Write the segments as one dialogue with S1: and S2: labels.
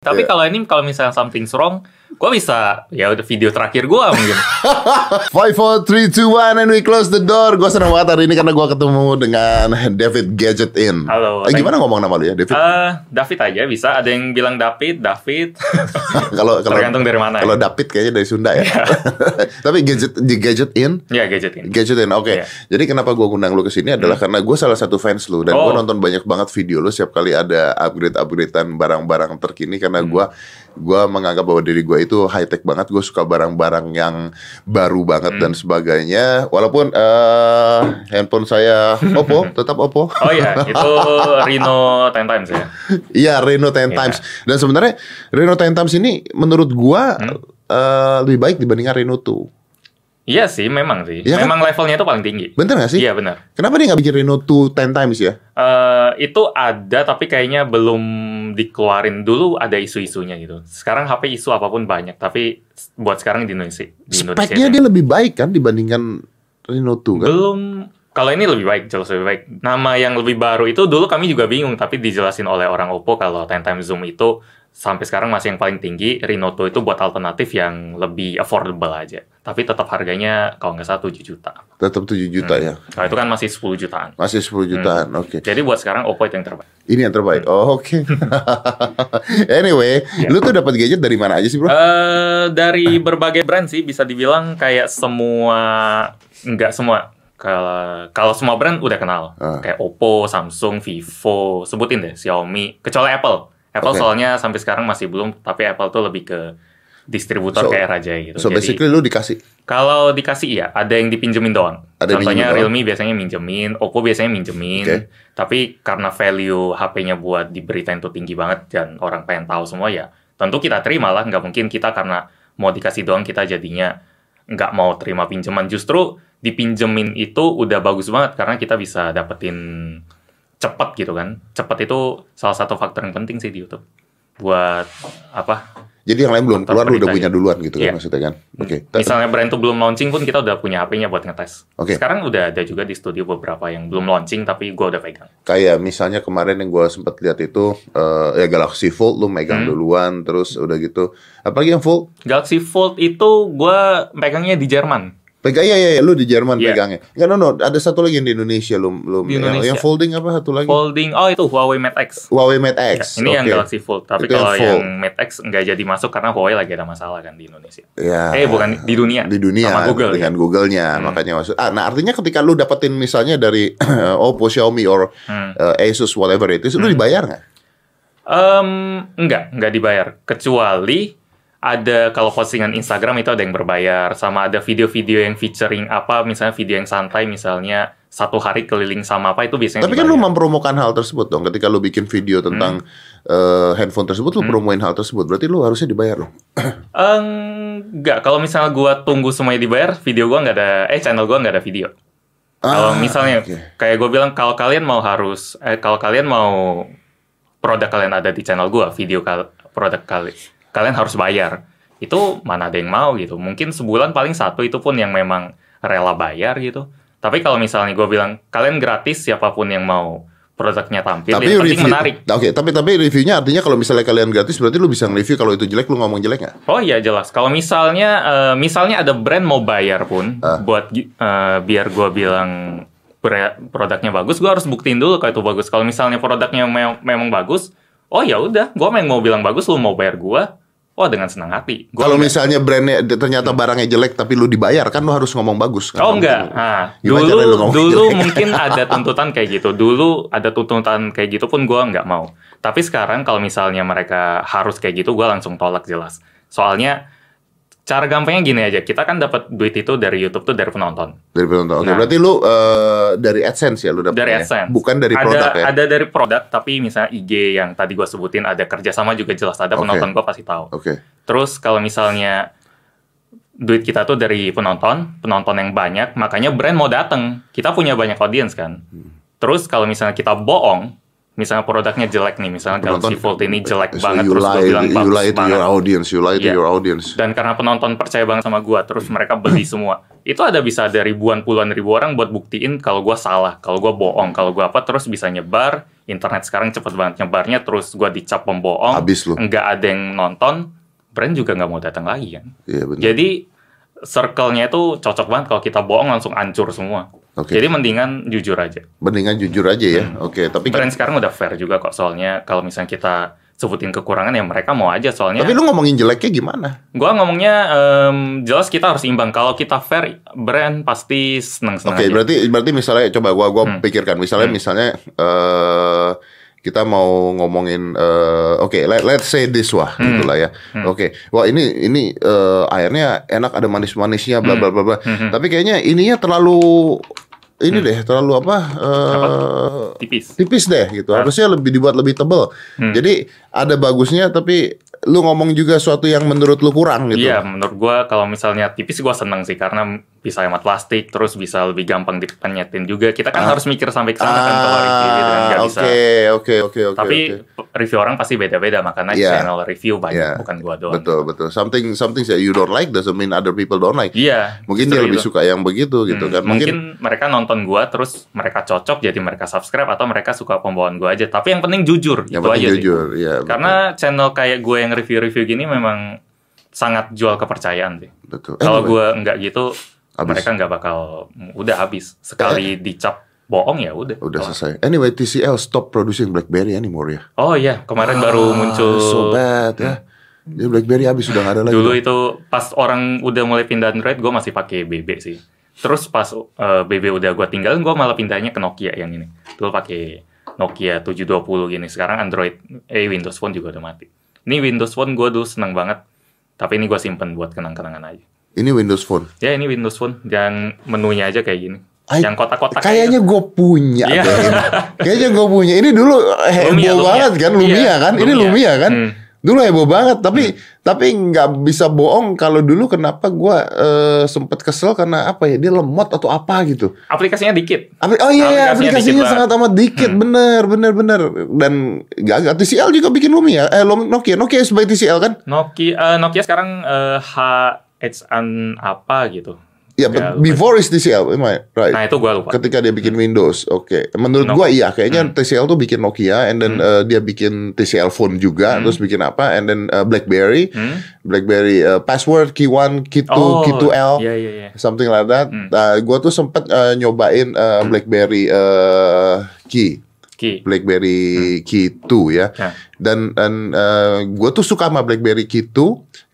S1: Tapi
S2: Iya.
S1: kalau ini kalau misalnya something's wrong, gue bisa ya udah video terakhir gue mungkin.
S2: Five, four, three, two, one, and we close the door. Gue seneng banget hari ini karena gue ketemu dengan David Gadget In.
S1: Halo,
S2: Eh,
S1: thank-
S2: gimana ngomong nama lu ya, David?
S1: Eh, David aja bisa. Ada yang bilang David, David.
S2: Kalau kalau
S1: tergantung dari mana ya. Iya.
S2: Kalau David kayaknya dari Sunda ya. Tapi Gadget di Gadget In.
S1: ya gadgetin.
S2: Gadget In, oke.
S1: Iya. Hmm.
S2: Jadi kenapa gue undang lu ke sini adalah karena gue salah satu fans lu dan
S1: Oh.
S2: gue nonton banyak banget video lu setiap kali ada upgrade upgradean barang-barang terkini karena
S1: Hmm.
S2: gue gue menganggap bahwa diri gue itu high tech banget. Gue suka barang-barang yang baru banget dan
S1: Hmm.
S2: sebagainya. Walaupun eh, handphone saya Oppo tetap Oppo.
S1: Oh iya, itu Reno Ten Times ya.
S2: Iya Reno
S1: Iya.
S2: 10 times. Dan sebenarnya Reno 10 times ini menurut gua
S1: Hmm.
S2: eh, lebih baik dibandingkan Reno 2.
S1: Iya sih, memang sih.
S2: Iya kan?
S1: memang levelnya itu paling tinggi.
S2: Bener gak sih?
S1: Iya benar.
S2: Kenapa dia nggak bikin Reno 2 10 times ya?
S1: Eh, itu ada tapi kayaknya belum dikeluarin dulu ada isu-isunya gitu. Sekarang HP isu apapun banyak, tapi buat sekarang di Indonesia. Di Indonesia
S2: Speknya
S1: ini-
S2: dia lebih baik kan dibandingkan Reno 2 kan?
S1: Belum. Kalau ini lebih baik, jelas lebih baik. Nama yang lebih baru itu dulu kami juga bingung, tapi dijelasin oleh orang Oppo kalau 10 time zoom itu sampai sekarang masih yang paling tinggi. Renoto itu buat alternatif yang lebih affordable aja. Tapi tetap harganya kalau nggak salah 7 juta.
S2: Tetap 7 juta ya.
S1: Kalau itu kan masih 10 jutaan.
S2: Masih 10
S1: Hmm.
S2: jutaan. Oke.
S1: Jadi buat sekarang Oppo itu yang terbaik.
S2: Ini yang terbaik.
S1: Hmm.
S2: Oh, oke. anyway,
S1: Ya.
S2: lu tuh dapat gadget dari mana aja sih, Bro?
S1: eh dari berbagai brand sih bisa dibilang kayak semua nggak semua kalau kalau semua brand udah kenal
S2: Ah.
S1: kayak Oppo, Samsung, Vivo, sebutin deh Xiaomi, kecuali Apple. Apple
S2: Oke.
S1: soalnya sampai sekarang masih belum, tapi Apple tuh lebih ke distributor
S2: So-
S1: kayak Raja gitu.
S2: So
S1: Jadi
S2: basically lu dikasih.
S1: kalau dikasih ya, ada yang dipinjemin doang.
S2: Ada yang
S1: Contohnya
S2: pinjemin doang.
S1: Realme biasanya minjemin, Oppo biasanya minjemin.
S2: Oke.
S1: Tapi karena value HP-nya buat diberitain itu tinggi banget dan orang pengen tahu semua ya, tentu kita terima lah. Nggak mungkin kita karena mau dikasih doang kita jadinya nggak mau terima pinjaman. Justru dipinjemin itu udah bagus banget karena kita bisa dapetin cepet gitu kan. Cepet itu salah satu faktor yang penting sih di YouTube buat apa
S2: Jadi yang lain belum
S1: Tetap
S2: keluar lu udah
S1: beritain.
S2: punya duluan gitu
S1: Iya.
S2: kan maksudnya kan. Oke. Ta-
S1: Misalnya brand itu belum launching pun kita udah punya HP-nya buat ngetes.
S2: Oke.
S1: Sekarang udah ada juga di studio beberapa yang belum launching tapi gua udah pegang.
S2: kayak misalnya kemarin yang gue sempat lihat itu eh, ya Galaxy Fold lu
S1: Hmm.
S2: megang duluan terus udah gitu apalagi yang Fold
S1: Galaxy Fold itu gua megangnya di Jerman.
S2: pegang iya iya iya, lu di Jerman
S1: Iya.
S2: pegangnya enggak no no ada satu lagi yang di Indonesia lu lu
S1: Di
S2: yang-
S1: Indonesia.
S2: yang folding apa satu lagi
S1: Folding, oh itu Huawei Mate X.
S2: Huawei Mate
S1: Ya,
S2: X
S1: ini yang
S2: Oke.
S1: Galaxy Fold, tapi
S2: Itu yang
S1: kalau
S2: Fold.
S1: yang, Mate X nggak jadi masuk karena Huawei lagi ada masalah kan di Indonesia.
S2: ya
S1: eh bukan di dunia.
S2: di dunia
S1: sama Google.
S2: dengan
S1: ya.
S2: Google-nya makanya maksud ah, nah artinya ketika lu dapetin misalnya dari Oppo Xiaomi or
S1: Hmm.
S2: eh, Asus whatever itu lu dibayar nggak
S1: Em, enggak, enggak dibayar. Kecuali ada kalau postingan Instagram itu ada yang berbayar, sama ada video-video yang featuring apa, misalnya video yang santai, misalnya satu hari keliling sama apa itu biasanya.
S2: Tapi kan lu
S1: dibayar. Hmm.
S2: mempromokan hal tersebut dong. Ketika lu bikin video tentang eh, handphone tersebut, lu promoin hal tersebut. Berarti lu harusnya dibayar dong.
S1: enggak. Kalau misalnya gua tunggu semuanya dibayar, video gua nggak ada, eh channel gua nggak ada video. Kalau
S2: Ah,
S1: misalnya
S2: oke.
S1: kayak gue bilang kalau kalian mau harus eh kalau kalian mau produk kalian ada di channel gue, video kal- produk kali kalian harus bayar. Itu mana ada yang mau gitu. Mungkin sebulan paling satu itu pun yang memang rela bayar gitu. Tapi kalau misalnya gue bilang kalian gratis siapapun yang mau produknya tampil,
S2: tapi
S1: yang penting
S2: review,
S1: menarik.
S2: Nah, Oke, tapi tapi reviewnya artinya kalau misalnya kalian gratis berarti lu bisa nge-review kalau itu jelek lu ngomong jelek nggak?
S1: Oh iya jelas. Kalau misalnya eh, misalnya ada brand mau bayar pun
S2: Ah.
S1: buat gi- eh, biar gua bilang pre- produknya bagus, gua harus buktiin dulu kalau itu bagus. Kalau misalnya produknya me- memang bagus, oh ya udah, gua memang mau bilang bagus, lu mau bayar gua, oh dengan senang hati. Gua
S2: Kalau
S1: enggak-
S2: misalnya brandnya ternyata barangnya jelek tapi lu dibayar kan lu harus ngomong bagus kan?
S1: Oh enggak. Ah, dulu
S2: Gimana caranya lu gitu? ngomong
S1: dulu
S2: jelek?
S1: mungkin ada tuntutan kayak gitu. Dulu ada tuntutan kayak gitu pun gua nggak mau. Tapi sekarang kalau misalnya mereka harus kayak gitu, gua langsung tolak jelas. Soalnya cara gampangnya gini aja. Kita kan dapat duit itu dari YouTube tuh dari penonton.
S2: Dari penonton. Oke,
S1: Nah.
S2: berarti lu eh, dari AdSense ya lu dapetnya
S1: Dari
S2: ya?
S1: AdSense.
S2: Bukan dari
S1: ada,
S2: produk ya.
S1: Ada dari produk, tapi misalnya IG yang tadi gua sebutin ada kerjasama juga jelas. Ada
S2: Oke.
S1: penonton gua pasti tahu.
S2: Oke.
S1: Terus kalau misalnya duit kita tuh dari penonton, penonton yang banyak, makanya brand mau datang. Kita punya banyak audiens kan. Terus kalau misalnya kita bohong, misalnya produknya jelek nih, misalnya Galaxy
S2: Penonton- eh,
S1: Fold ini jelek
S2: So,
S1: banget,
S2: you
S1: terus gue
S2: lie,
S1: bilang
S2: you
S1: bagus
S2: lie to
S1: banget.
S2: your audience, you lie to
S1: Iya.
S2: your audience.
S1: Dan karena penonton percaya banget sama gua, terus mereka beli semua. Itu ada bisa ada ribuan puluhan ribu orang buat buktiin kalau gua salah, kalau gua bohong, kalau gua apa, terus bisa nyebar. internet sekarang cepet banget nyebarnya terus gua dicap pembohong
S2: Habis lu.
S1: nggak ada yang nonton brand juga nggak mau datang lagi kan
S2: Iya benar.
S1: jadi circle-nya itu cocok banget kalau kita bohong langsung hancur semua
S2: Oke.
S1: jadi mendingan jujur aja
S2: Mendingan jujur aja ya.
S1: Hmm.
S2: Oke, tapi kan-
S1: brand sekarang udah fair juga kok soalnya kalau misalnya kita sebutin kekurangan ya mereka mau aja soalnya
S2: tapi lu ngomongin jeleknya gimana?
S1: Gua ngomongnya em, jelas kita harus imbang. Kalau kita fair, brand pasti seneng seneng.
S2: Oke, berarti berarti misalnya coba gua gua
S1: Hmm.
S2: pikirkan misalnya misalnya eh kita mau ngomongin eh oke let, let's say this wah
S1: Hmm.
S2: gitu lah ya. Oke. Wah, ini ini eh, airnya enak ada manis-manisnya
S1: Hmm.
S2: bla bla bla bla. Tapi kayaknya ininya terlalu ini
S1: Hmm.
S2: deh, terlalu apa? eh,
S1: tipis.
S2: tipis deh gitu. Harusnya lebih dibuat lebih tebel.
S1: Hmm.
S2: Jadi ada bagusnya tapi lu ngomong juga suatu yang menurut lu kurang gitu.
S1: Iya, menurut gua kalau misalnya tipis gua seneng sih karena bisa hemat plastik, terus bisa lebih gampang dipenyetin juga. Kita kan harus mikir sampai ke sana kan kalau review gitu kan
S2: Ah,
S1: nggak bisa.
S2: oke, oke, oke, oke.
S1: Tapi
S2: oke.
S1: review orang pasti beda-beda, makanya
S2: Iya.
S1: channel review banyak,
S2: Iya.
S1: bukan gua doang.
S2: Betul betul. Something something that you don't like doesn't mean other people don't like.
S1: Iya.
S2: Mungkin
S1: justru
S2: dia lebih
S1: itu.
S2: suka yang begitu gitu
S1: Hmm,
S2: kan.
S1: mungkin, mereka nonton gua terus mereka cocok jadi mereka subscribe atau mereka suka pembawaan gua aja. Tapi yang penting jujur,
S2: yang
S1: itu
S2: penting
S1: aja sih.
S2: jujur, ya.
S1: Karena channel kayak gue yang review-review gini memang sangat jual kepercayaan sih.
S2: betul. betul. Eh,
S1: Kalau
S2: lu-
S1: gue nggak gitu,
S2: Habis. Eh.
S1: mereka nggak bakal udah habis. Sekali dicap bohong ya udah.
S2: udah
S1: Oh.
S2: selesai. Anyway, TCL stop producing BlackBerry anymore ya.
S1: Oh iya, kemarin baru
S2: Ah,
S1: muncul Hmm.
S2: so bad ya. Jadi BlackBerry habis sudah nggak ada lagi.
S1: dulu itu pas orang udah mulai pindah Android, gue masih pakai BB sih. Terus pas eh, BB udah gue tinggalin, gue malah pindahnya ke Nokia yang ini. Dulu pakai Nokia 720 gini. Sekarang Android, eh Windows Phone juga udah mati. Ini Windows Phone gue dulu seneng banget. Tapi ini gue simpen buat kenang-kenangan aja.
S2: Ini Windows Phone.
S1: Ya ini Windows Phone yang menunya aja kayak gini.
S2: Ay,
S1: yang kotak-kotak. gitu.
S2: Kayaknya gue punya
S1: Iya.
S2: deh ini. Kayaknya gue punya. Ini dulu heboh
S1: Lumia, Lumia.
S2: banget kan, Lumia
S1: Iya,
S2: kan. Ini
S1: Lumia.
S2: Lumia kan.
S1: Hmm.
S2: Dulu heboh banget, tapi tapi nggak bisa bohong kalau dulu kenapa gue sempet kesel karena apa ya dia lemot atau apa gitu.
S1: Aplikasinya dikit.
S2: Apli- oh iya, iya,
S1: Aplikasinya
S2: aplikasinya
S1: dikit Hmm.
S2: sangat amat dikit, bener, bener, bener. Dan gagal. TCL juga bikin Lumia, eh Lum- Nokia, Nokia is by TCL kan?
S1: Nokia eh, Nokia sekarang eh, HXN apa gitu.
S2: Ya, but
S1: Ya, lupa.
S2: before is TCL, am I right?
S1: Nah itu gue lupa.
S2: ketika dia bikin Windows. Oke, menurut
S1: No. Hmm.
S2: gua iya kayaknya TCL tuh bikin Nokia and then eh, dia bikin TCL phone juga terus bikin apa and then eh, BlackBerry.
S1: Hmm?
S2: BlackBerry eh, password Key1, Key2, Key2L.
S1: Iya iya iya.
S2: Something like that.
S1: Hmm.
S2: Nah, gua tuh sempet eh, nyobain eh, BlackBerry eh, Key,
S1: Ki. Hmm.
S2: BlackBerry Key2 ya.
S1: Nah,
S2: Dan dan gue tuh suka sama BlackBerry Key2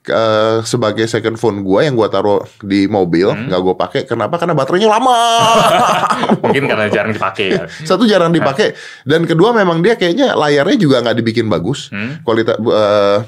S2: eh, sebagai second phone gua yang gua taruh di mobil,
S1: Hmm.
S2: nggak gua pakai. Kenapa? Karena baterainya lama.
S1: mungkin karena jarang dipakai. ya.
S2: satu jarang dipakai dan kedua memang dia kayaknya layarnya juga nggak dibikin bagus
S1: Hmm.
S2: kualitas bu- eh,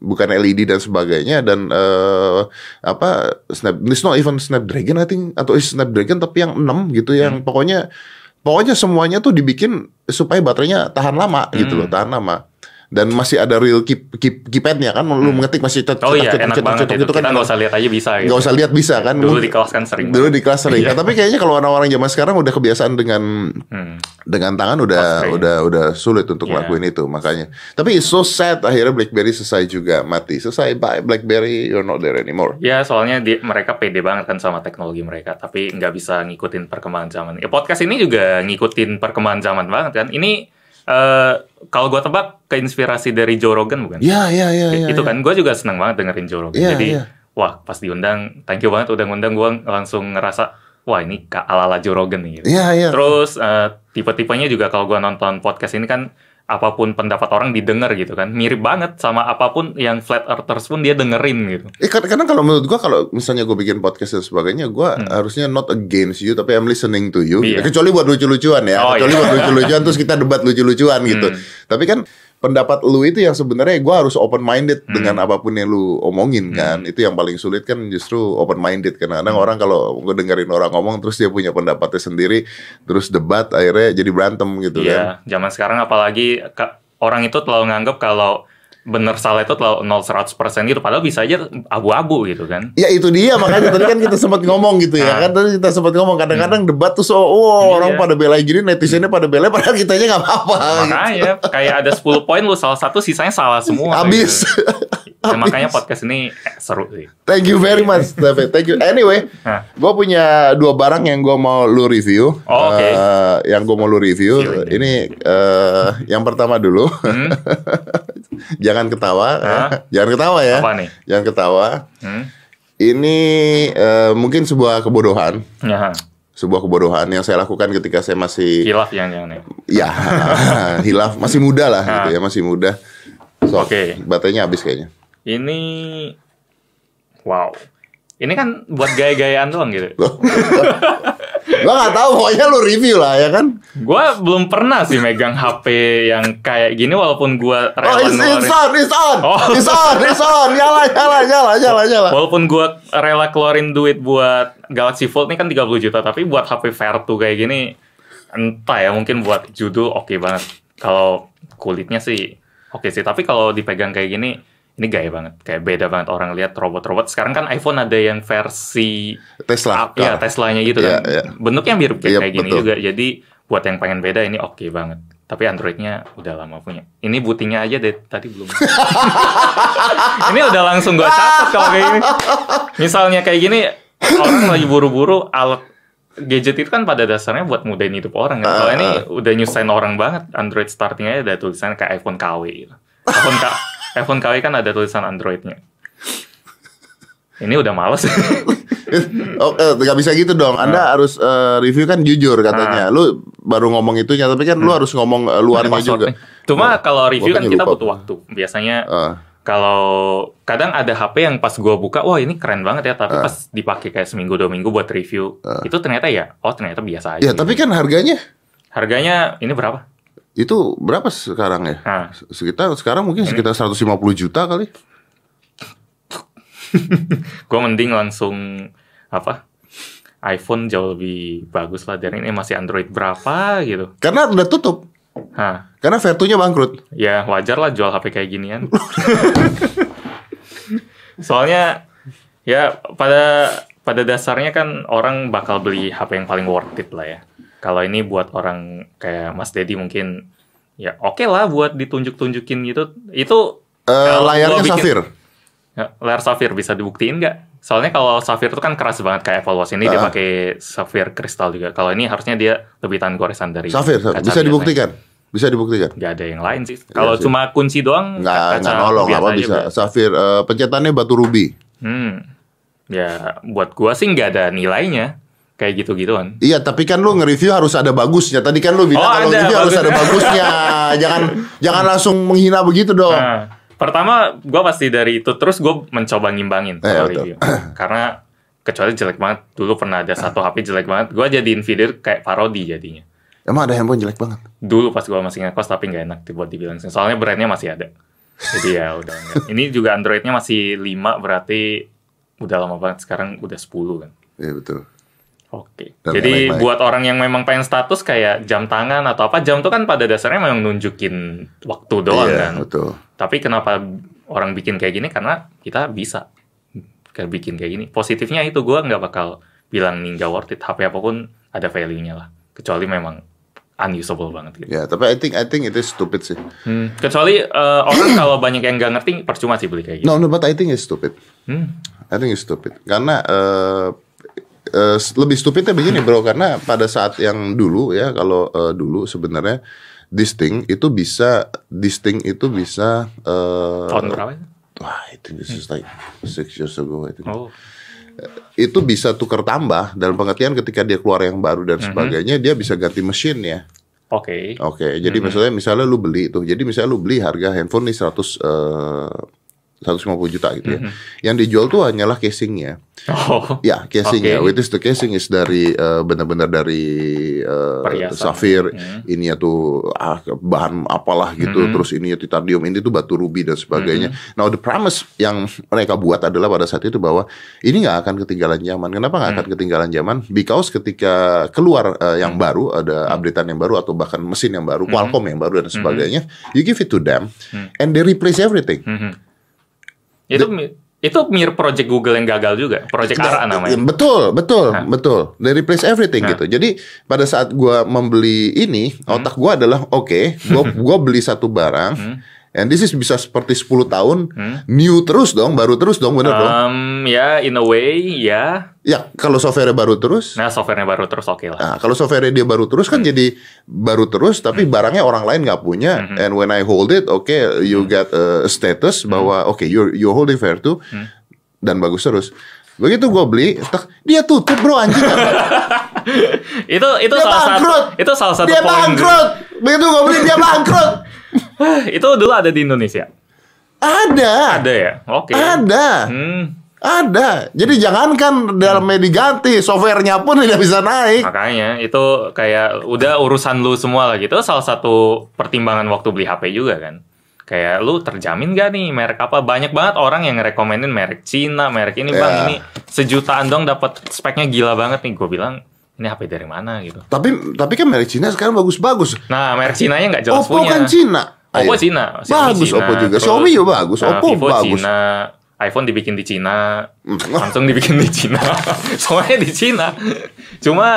S2: bukan LED dan sebagainya dan eh, apa snap it's not even Snapdragon I think atau is Snapdragon tapi yang 6 gitu
S1: Hmm.
S2: yang pokoknya pokoknya semuanya tuh dibikin supaya baterainya tahan lama
S1: Hmm.
S2: gitu loh tahan lama dan masih ada real key, key, keypadnya kan lu mengetik masih cet-
S1: Oh iya
S2: cetak- cetak-
S1: enak
S2: cetak-
S1: banget itu.
S2: cetak gitu
S1: Kita
S2: kan
S1: nggak usah lihat aja bisa. Gitu.
S2: nggak usah lihat bisa kan
S1: Dulu
S2: Mungkin-
S1: di kelas kan sering.
S2: dulu di kelas sering
S1: Iya.
S2: tapi kayaknya kalau orang-orang zaman sekarang udah kebiasaan dengan
S1: Hmm.
S2: dengan tangan udah
S1: Pasti.
S2: udah udah sulit untuk
S1: Iya.
S2: ngelakuin itu makanya tapi it's so sad akhirnya BlackBerry selesai juga mati selesai bye BlackBerry you're not there anymore
S1: Ya soalnya di- mereka pede banget kan sama teknologi mereka, tapi nggak bisa ngikutin perkembangan zaman. Ya, podcast ini juga ngikutin perkembangan zaman banget kan. Ini eh, kalau gua tebak keinspirasi dari Joe Rogan bukan?
S2: ya ya ya ya
S1: itu
S2: ya.
S1: kan gue juga seneng banget dengerin Joe Rogan.
S2: Iya,
S1: Jadi
S2: iya.
S1: wah pas diundang, thank you banget udah ngundang gue langsung ngerasa wah ini ka- ala-ala Joe Rogan nih. Gitu.
S2: ya ya
S1: Terus eh, tipe-tipenya juga kalau gua nonton podcast ini kan apapun pendapat orang didengar gitu kan. Mirip banget sama apapun yang flat earthers pun dia dengerin gitu.
S2: Eh, kad- kadang kalau menurut gua kalau misalnya gua bikin podcast dan sebagainya gua harusnya not against you tapi I'm listening to you
S1: Hmm. Iya.
S2: kecuali buat lucu-lucuan ya
S1: Oh,
S2: kecuali
S1: iya. Hmm.
S2: buat lucu-lucuan terus kita debat lucu-lucuan gitu tapi kan pendapat lu itu yang sebenarnya gua harus open minded
S1: Hmm.
S2: dengan apapun yang lu omongin kan itu yang paling sulit kan justru open minded karena kadang
S1: Hmm.
S2: orang kalau gua dengerin orang ngomong terus dia punya pendapatnya sendiri terus debat akhirnya jadi berantem gitu kan
S1: Iya, zaman sekarang apalagi ka- orang itu terlalu nganggap kalau bener salah itu terlalu 0 100% gitu padahal bisa aja abu-abu gitu kan.
S2: Ya itu dia makanya tadi kan kita sempat ngomong gitu ya
S1: Ah. Hmm.
S2: kan tadi kita sempat ngomong kadang-kadang debat tuh so
S1: Iya.
S2: wow, orang pada belain gini netizennya pada belain padahal kitanya nggak apa-apa.
S1: Makanya kayak ada 10 poin lu salah satu sisanya salah semua.
S2: Habis.
S1: gitu. Nah, makanya podcast ini eh, seru sih. Nah,
S2: Thank you very much, David. Thank you. Anyway,
S1: Hah.
S2: gue punya dua barang yang gue mau lu review.
S1: Oh, oke.
S2: Eh, yang gue mau lu review.
S1: Silakan.
S2: Ini eh, yang pertama dulu.
S1: Hmm?
S2: Jangan ketawa.
S1: Hah?
S2: Jangan ketawa ya.
S1: Apa nih?
S2: Jangan ketawa.
S1: Hmm?
S2: Ini eh, mungkin sebuah kebodohan.
S1: Ya,
S2: Sebuah kebodohan yang saya lakukan ketika saya masih...
S1: hilaf jangan-jangan ya.
S2: Ya, hilaf. Masih muda lah gitu ya. Masih muda.
S1: Ah.
S2: So,
S1: Oke.
S2: Baterainya habis kayaknya.
S1: Ini, wow. Ini kan buat gaya-gayaan doang gitu.
S2: Gue gak tahu pokoknya lu review lah ya kan.
S1: Gua belum pernah sih megang HP yang kayak gini walaupun gua
S2: Oh,
S1: rela
S2: it's, it's
S1: ngeluarin,
S2: on, it's on,
S1: Oh.
S2: it's on, it's on. Nyala, nyala, nyala, nyala, nyala.
S1: walaupun gua rela keluarin duit buat Galaxy Fold ini kan 30 juta, tapi buat HP Vertu kayak gini entah ya, mungkin buat judul oke banget. Kalau kulitnya sih oke sih, tapi kalau dipegang kayak gini ini gaya banget, kayak beda banget orang lihat robot-robot. Sekarang kan iPhone ada yang versi
S2: Tesla.
S1: up ya Teslanya gitu
S2: Iya,
S1: kan.
S2: iya.
S1: Bentuknya mirip kayak,
S2: Iya,
S1: kayak gini
S2: betul.
S1: juga. Jadi buat yang pengen beda ini oke banget. Tapi Androidnya udah lama punya. Ini bootingnya aja deh tadi belum. ini udah langsung gua catat kalau kayak gini. Misalnya kayak gini orang lagi buru-buru alat gadget itu kan pada dasarnya buat mudahin hidup orang. Kan? Kalau
S2: Ah,
S1: ini
S2: ah.
S1: udah nyusahin orang banget. Android starting aja ada tulisan kayak iPhone KW. Gitu. iPhone, K- iPhone KW kan ada tulisan Androidnya. Ini udah males.
S2: Oh, eh, nggak bisa gitu dong.
S1: Ah.
S2: Anda harus eh, review kan jujur katanya. Lu baru ngomong itunya, tapi kan lu harus ngomong eh, luarnya
S1: Hmm. Password
S2: juga.
S1: nih. Cuma kalau review kan
S2: makanya
S1: kita
S2: lupa.
S1: butuh waktu. Biasanya
S2: Eh,
S1: kalau kadang ada HP yang pas gua buka, wah ini keren banget ya,
S2: Ah.
S1: tapi pas dipakai kayak seminggu dua minggu buat review, itu ternyata ya, oh ternyata biasa aja.
S2: ya, tapi kan harganya
S1: Harganya ini berapa?
S2: itu berapa sekarang ya?
S1: Nah,
S2: Se- Sekitar sekarang
S1: Hmm.
S2: mungkin sekitar 150 juta kali.
S1: gua mending langsung apa? iPhone jauh lebih bagus lah dari ini masih Android berapa gitu. Nah,
S2: Karena udah tutup.
S1: Hah,
S2: Karena Vertunya bangkrut.
S1: ya wajar lah jual HP kayak ginian. Soalnya ya pada pada dasarnya kan orang bakal beli HP yang paling worth it lah ya. Kalau ini buat orang kayak Mas Dedi mungkin ya oke lah buat ditunjuk-tunjukin gitu. Itu
S2: Eh,
S1: Kalau
S2: layarnya
S1: gua bikin-
S2: safir.
S1: ya, layar safir bisa dibuktiin nggak? Soalnya kalau safir itu kan keras banget kayak Evolve Watch ini dia
S2: Ah.
S1: pakai safir kristal juga. Kalau ini harusnya dia lebih tahan goresan dari
S2: Safir, safir.
S1: kaca
S2: bisa
S1: biasanya.
S2: dibuktikan. Bisa dibuktikan.
S1: Nggak ada yang lain sih. Kalau
S2: Iya sih.
S1: cuma kunci doang
S2: Nggak, nggak nolong
S1: biasa
S2: apa
S1: aja
S2: bisa.
S1: udah.
S2: Safir eh, pencetannya batu rubi.
S1: Hmm. Ya, buat gua sih nggak ada nilainya kayak gitu-gituan.
S2: Iya, tapi kan lu nge-review harus ada bagusnya. Tadi kan lu bilang
S1: Oh,
S2: kalau
S1: ada,
S2: review harus
S1: bagus.
S2: ada bagusnya. jangan jangan langsung menghina begitu dong.
S1: Nah, pertama gua pasti dari itu terus gua mencoba ngimbangin
S2: Eh,
S1: kalau
S2: betul.
S1: review. Karena kecuali jelek banget, dulu pernah ada satu HP jelek banget, gua jadiin video kayak parodi jadinya.
S2: Emang ada handphone jelek banget.
S1: Dulu pas gua masih ngekos tapi nggak enak buat dibilang sih. Soalnya brandnya masih ada. Jadi ya udah. enggak. Ini juga Androidnya masih 5 berarti udah lama banget sekarang udah 10 kan.
S2: Iya betul.
S1: Oke.
S2: Dan
S1: Jadi
S2: lain-lain.
S1: buat orang yang memang pengen status kayak jam tangan atau apa, jam itu kan pada dasarnya memang nunjukin waktu doang
S2: iya,
S1: kan.
S2: betul.
S1: Tapi kenapa orang bikin kayak gini? Karena kita bisa kayak bikin kayak gini. Positifnya itu gua nggak bakal bilang nih nggak worth it. HP apapun ada value-nya lah. Kecuali memang unusable banget gitu.
S2: Ya, tapi I think I think itu stupid sih.
S1: Hmm. Kecuali eh, orang kalau banyak yang nggak ngerti, percuma sih beli kayak gitu.
S2: No, no, but I think it's stupid.
S1: Hmm.
S2: I think it's stupid. Karena eh eh, lebih stupidnya begini bro, karena pada saat yang dulu ya kalau eh, dulu sebenarnya distinct itu bisa distinct itu bisa eh,
S1: Tahun berapa? ya?
S2: wah itu this is like six years ago I think.
S1: Oh,
S2: itu bisa tukar tambah dalam pengertian ketika dia keluar yang baru dan sebagainya dia bisa ganti mesin ya
S1: oke.
S2: oke jadi misalnya misalnya lu beli tuh jadi misalnya lu beli harga handphone nih 100 eh, 150 juta gitu ya yang dijual tuh hanyalah casingnya
S1: Oh,
S2: ya casingnya
S1: Oke.
S2: which is the casing is dari eh, benar-benar dari eh,
S1: Perhiasan. Hmm.
S2: safir ini ya tuh ah, bahan apalah gitu terus ini ya titanium ini tuh batu rubi dan sebagainya
S1: Hmm.
S2: now the premise yang mereka buat adalah pada saat itu bahwa ini nggak akan ketinggalan zaman kenapa nggak
S1: Hmm.
S2: akan ketinggalan zaman because ketika keluar eh, yang baru ada
S1: Hmm.
S2: updatean yang baru atau bahkan mesin yang baru Qualcomm yang baru dan sebagainya you give it to them
S1: Hmm.
S2: and they replace everything
S1: Mhm.
S2: Iya.
S1: Itu mi- itu mirip project Google yang gagal juga, project ARA namanya.
S2: Nah, iya,
S1: Nah.
S2: Betul, betul, betul. They replace everything gitu. Jadi
S1: Hmm.
S2: pada saat gua membeli ini, otak gua adalah oke, gua gua beli satu barang. And this is bisa seperti 10 tahun
S1: Hmm.
S2: new terus dong, baru terus dong, bener dong.
S1: Um, ya, in a way, ya.
S2: Ya, kalau software baru terus.
S1: Nah, Hmm. softwarenya baru terus oke lah.
S2: Nah, kalau software dia baru terus kan jadi baru terus,
S1: Hmm.
S2: tapi barangnya orang lain nggak punya. And when I hold it, oke,
S1: Hmm.
S2: you get a status bahwa oke, you're you're holding fair too,
S1: Hmm.
S2: dan bagus terus. Begitu gue beli, tek, dia tutup bro anjing.
S1: itu itu
S2: Dia
S1: salah
S2: bangkrut.
S1: satu itu salah satu
S2: dia
S1: poin-
S2: bangkrut. Begitu gue beli dia bangkrut.
S1: itu dulu ada di Indonesia.
S2: Ada,
S1: Ada ya? Oke.
S2: ada,
S1: Hmm,
S2: ada. Jadi jangankan dalamnya diganti, softwarenya pun tidak bisa
S1: Ah.
S2: naik.
S1: makanya itu kayak udah urusan lu semua lah gitu. Salah satu pertimbangan waktu beli HP juga kan. Kayak lu terjamin gak nih merek apa? Banyak banget orang yang ngerekomenin merek Cina, merek ini bang
S2: Ya.
S1: ini sejutaan dong dapat speknya gila banget nih. Gue bilang ini HP dari mana gitu.
S2: Tapi tapi kan merek Cina sekarang bagus-bagus.
S1: Nah merek Cina nya nggak jelas
S2: Oppo
S1: punya.
S2: kan Cina.
S1: Oppo
S2: Ayo.
S1: Cina,
S2: Bagus Oppo juga.
S1: terus,
S2: Xiaomi juga bagus,
S1: uh,
S2: Oppo
S1: Vivo
S2: bagus.
S1: Cina, iPhone dibikin di Cina,
S2: Hmm,
S1: Samsung dibikin di Cina, semuanya di Cina. Cuma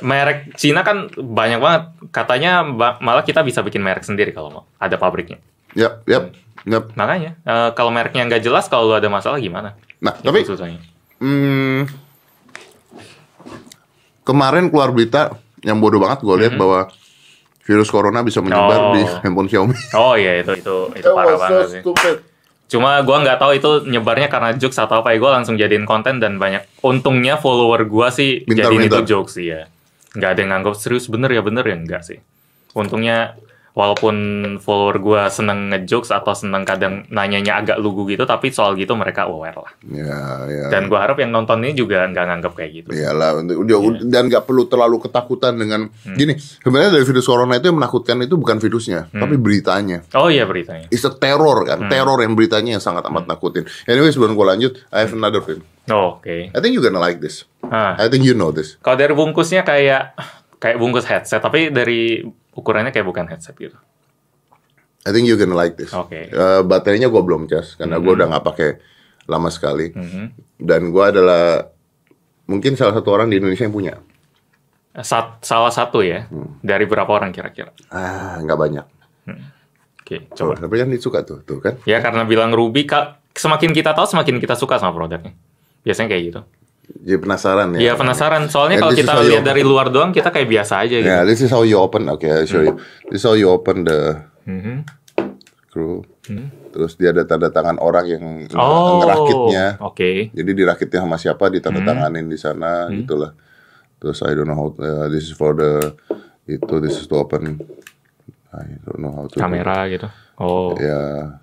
S1: merek Cina kan banyak banget. Katanya ba- malah kita bisa bikin merek sendiri kalau mau, ada pabriknya.
S2: Yap, yap, yap.
S1: Makanya uh, kalau mereknya nggak jelas, kalau lu ada masalah gimana?
S2: Nah,
S1: Itu
S2: tapi
S1: susahnya.
S2: hmm, kemarin keluar berita yang bodoh banget gue lihat bahwa virus corona bisa menyebar
S1: Hmm. Oh.
S2: di handphone Xiaomi.
S1: Oh iya itu itu itu parah banget sih. Cuma gua nggak tahu itu nyebarnya karena jokes atau apa ya. Gue langsung jadiin konten dan banyak untungnya follower gua sih
S2: Pintar,
S1: jadiin
S2: pintar.
S1: itu jokes sih ya. Nggak ada yang nganggap serius bener ya bener ya enggak sih. Untungnya walaupun follower gua seneng ngejokes atau seneng kadang nanyanya agak lugu gitu, tapi soal gitu mereka aware lah.
S2: Ya, ya.
S1: Dan gua harap yang nonton ini juga nggak nganggap kayak gitu.
S2: Iyalah, udah- udah- dan nggak perlu terlalu ketakutan dengan
S1: Hmm.
S2: gini. Sebenarnya dari virus corona itu yang menakutkan itu bukan virusnya,
S1: Hmm.
S2: tapi beritanya.
S1: Oh iya beritanya.
S2: It's a teror kan,
S1: Hmm.
S2: teror yang beritanya yang sangat amat nakutin. Anyway, sebelum gue lanjut, I have another thing.
S1: Oh, Oke.
S2: I think you gonna like this.
S1: Ah.
S2: I think you know this.
S1: Kalau dari bungkusnya kayak kayak bungkus headset, tapi dari ukurannya kayak bukan headset gitu.
S2: I think you gonna like this.
S1: Oke. Hmm.
S2: Eh, baterainya gue belum cas karena gue udah nggak pakai lama sekali.
S1: Mhm.
S2: Dan gue adalah mungkin salah satu orang di Indonesia yang punya.
S1: Sat- salah satu ya
S2: Hmm.
S1: dari berapa orang kira-kira?
S2: Ah, nggak banyak.
S1: Oke,
S2: Tuh,
S1: coba.
S2: tapi kan disuka tuh, tuh kan.
S1: Ya karena bilang Ruby, Kak, semakin kita tahu semakin kita suka sama produknya. Biasanya kayak gitu.
S2: Jadi penasaran ya. gitu
S1: Iya penasaran. Soalnya
S2: And
S1: kalau
S2: this
S1: kita
S2: is how you
S1: lihat
S2: open-
S1: dari luar doang kita kayak biasa aja gitu.
S2: Yeah, this is how you open. Okay, I'll show you. This is how you open the
S1: Mhm.
S2: screw. Terus dia ada tanda tangan orang yang
S1: Oh,
S2: ngerakitnya.
S1: Oke.
S2: Jadi dirakitnya sama siapa ditandatanganin di sana gitulah. Terus I don't know how uh, this is for the itu this is to open. I don't know how to. do-
S1: Kamera gitu. Oh.
S2: Ya.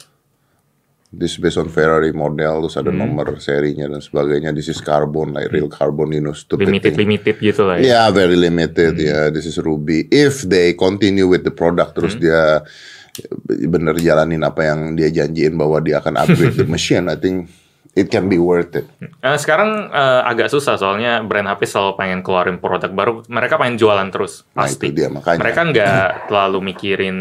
S2: This based on Ferrari model terus ada nomor serinya dan sebagainya. This is carbon like real carbon you know stupid
S1: Limited
S2: thing.
S1: limited gitu lah ya.
S2: Yeah, very limited.
S1: Hmm.
S2: Yeah, this is Ruby. If they continue with the product, terus
S1: Hmm.
S2: dia bener jalanin apa yang dia janjiin bahwa dia akan upgrade the machine, I think it can be worth it.
S1: Eh, sekarang eh, agak susah soalnya brand HP selalu pengen keluarin produk baru. Mereka pengen jualan terus
S2: Nah,
S1: pasti.
S2: itu dia, makanya.
S1: Mereka nggak terlalu mikirin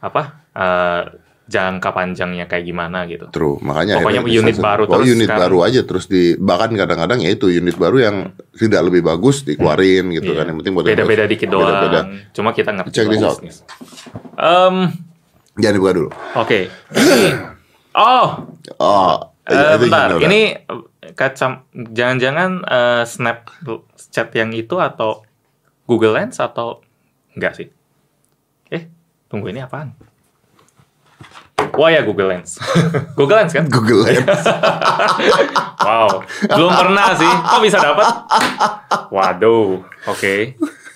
S1: apa eh, jangka panjangnya kayak gimana gitu.
S2: True, makanya
S1: Pokoknya
S2: akhirnya
S1: unit
S2: disasar.
S1: baru
S2: Pokoknya
S1: terus kan.
S2: unit
S1: sekarang.
S2: baru aja terus di bahkan kadang-kadang ya itu unit baru yang tidak lebih bagus dikeluarin
S1: Hmm.
S2: gitu
S1: Iya.
S2: kan yang penting buat
S1: beda-beda dikit doang.
S2: Beda-beda.
S1: Cuma kita ngerti.
S2: Check this
S1: lah
S2: out.
S1: bisnis. Em,
S2: Jangan dibuka dulu.
S1: oke. Ini- oh,
S2: Oh, I- I
S1: eh,
S2: think
S1: bentar.
S2: you know that.
S1: Ini eh, kacam jangan-jangan eh, Snapchat yang itu atau Google Lens atau enggak sih? Eh, tunggu ini apaan? Wah ya Google Lens. Google Lens kan?
S2: Google Lens.
S1: Wow, belum pernah sih. Kok bisa dapat? Waduh, oke.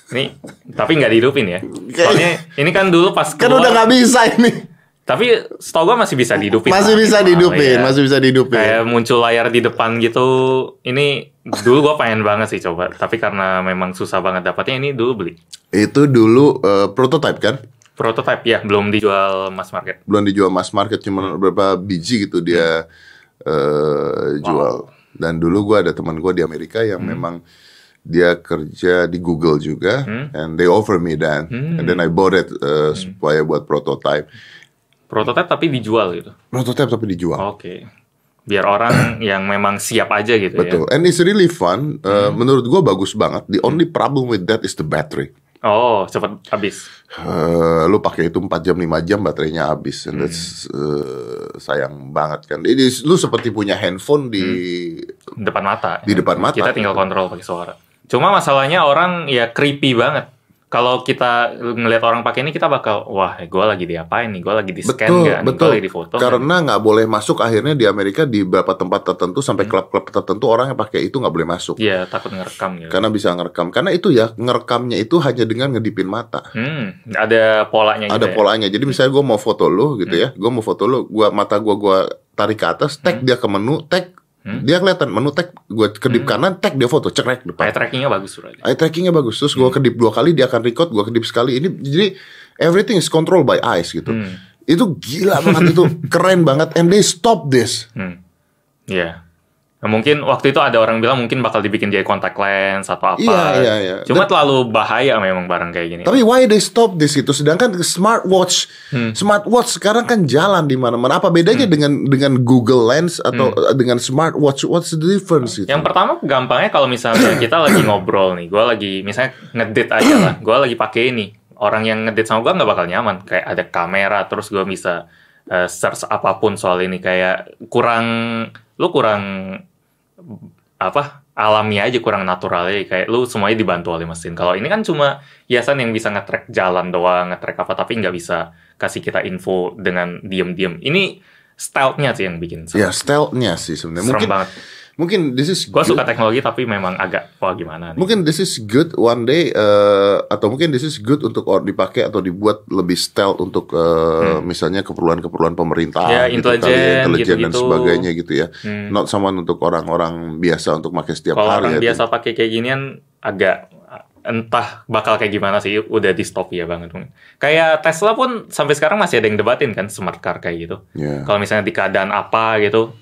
S1: Ini tapi nggak dihidupin ya. Soalnya ini kan dulu pas
S2: kan
S1: keluar,
S2: udah nggak bisa ini.
S1: tapi setahu gua masih bisa dihidupin.
S2: Masih
S1: lah,
S2: bisa
S1: gitu.
S2: didupin,
S1: Iya.
S2: masih bisa didupin.
S1: Kayak muncul layar di depan gitu. Ini dulu gua pengen banget sih coba, tapi karena memang susah banget dapatnya ini dulu beli.
S2: Itu dulu eh, prototype kan?
S1: Prototype ya, belum dijual mass market.
S2: belum dijual mass market cuma berapa biji gitu dia eh, jual dan dulu gua ada teman gua di Amerika yang memang dia kerja di Google juga and they offer me then and then I bought it eh, supaya buat prototype
S1: Prototype tapi dijual gitu.
S2: prototype tapi dijual
S1: Oke. Biar orang yang memang siap aja gitu ya.
S2: betul and it's really fun Eh, menurut gua bagus banget the only problem with that is the battery
S1: Oh, cepet habis.
S2: Eh, lu pakai itu 4 jam 5 jam baterainya habis and that's,
S1: Hmm.
S2: eh, sayang banget kan ini lu seperti punya handphone di
S1: Depan mata.
S2: Di depan mata.
S1: Kita tinggal kontrol pakai suara. Cuma masalahnya orang ya creepy banget. Kalau kita ngelihat orang pakai ini kita bakal wah, gue lagi diapain nih? Gue lagi di scan kan,
S2: betul
S1: nggak nih? Gue
S2: betul
S1: lagi di foto.
S2: karena nggak boleh masuk akhirnya di Amerika di beberapa tempat tertentu sampai klub-klub tertentu orang yang pakai itu nggak boleh masuk
S1: Hmm. Iya, takut ngerekam gitu.
S2: karena bisa ngerekam karena itu ya ngerekamnya itu hanya dengan ngedipin mata
S1: Hmm, ada polanya gitu.
S2: ada
S1: ya?
S2: polanya. Jadi misalnya gue mau foto lu
S1: Hmm.
S2: gitu ya, gue mau foto lu, gua mata gue gua tarik ke atas, tag dia ke menu, tag
S1: Hmm.
S2: dia kelihatan menu tag gue kedip kanan, tag dia foto, cekrek
S1: Eye
S2: depan.
S1: trackingnya bagus berarti.
S2: Eye trackingnya bagus, terus
S1: Hmm.
S2: gue kedip dua kali dia akan record, gue kedip sekali. Ini jadi everything is controlled by eyes gitu.
S1: Hmm.
S2: Itu gila banget itu, keren banget. And they stop this.
S1: Hmm. Iya. Nah, mungkin waktu itu ada orang bilang mungkin bakal dibikin jadi contact lens atau apa.
S2: Iya, iya, iya.
S1: Cuma terlalu bahaya memang barang kayak gini.
S2: Tapi why they stop this gitu? Sedangkan smartwatch,
S1: Hmm.
S2: smartwatch sekarang kan jalan di mana-mana. Apa bedanya dengan dengan Google Lens atau eh, dengan smartwatch? What's the difference? Gitu?
S1: Hmm. Yang pertama gampangnya kalau misalnya kita lagi ngobrol nih, gue lagi misalnya ngedit aja lah, gue lagi pakai ini, orang yang ngedit sama gue nggak bakal nyaman, kayak ada kamera, terus gue bisa eh, search apapun soal ini, kayak kurang, lu kurang apa alami aja kurang natural aja kayak lu semuanya dibantu oleh mesin kalau ini kan cuma hiasan yang bisa nge-track jalan doang nge-track apa tapi nggak bisa kasih kita info dengan diem-diem ini stealth-nya sih yang bikin serem,
S2: Ya stealth-nya sih sebenarnya.
S1: serem
S2: Mungkin
S1: banget
S2: mungkin this is
S1: Gue
S2: good.
S1: suka teknologi tapi memang agak wah gimana nih.
S2: Mungkin this is good one day eh, atau mungkin this is good untuk or- dipakai atau dibuat lebih stealth untuk eh, misalnya keperluan-keperluan pemerintah
S1: Hmm.
S2: gitu
S1: Ya,
S2: kali
S1: intelijen,
S2: intelijen dan
S1: gitu-gitu.
S2: sebagainya gitu ya.
S1: Hmm.
S2: Not someone untuk orang-orang biasa untuk pakai setiap
S1: Kalau
S2: hari.
S1: orang
S2: ya.
S1: biasa pakai kayak ginian agak eh, entah bakal kayak gimana sih udah distopia banget mungkin. Kayak Tesla pun sampai sekarang masih ada yang debatin kan smart car kayak gitu.
S2: Ya.
S1: Kalau misalnya di keadaan apa gitu,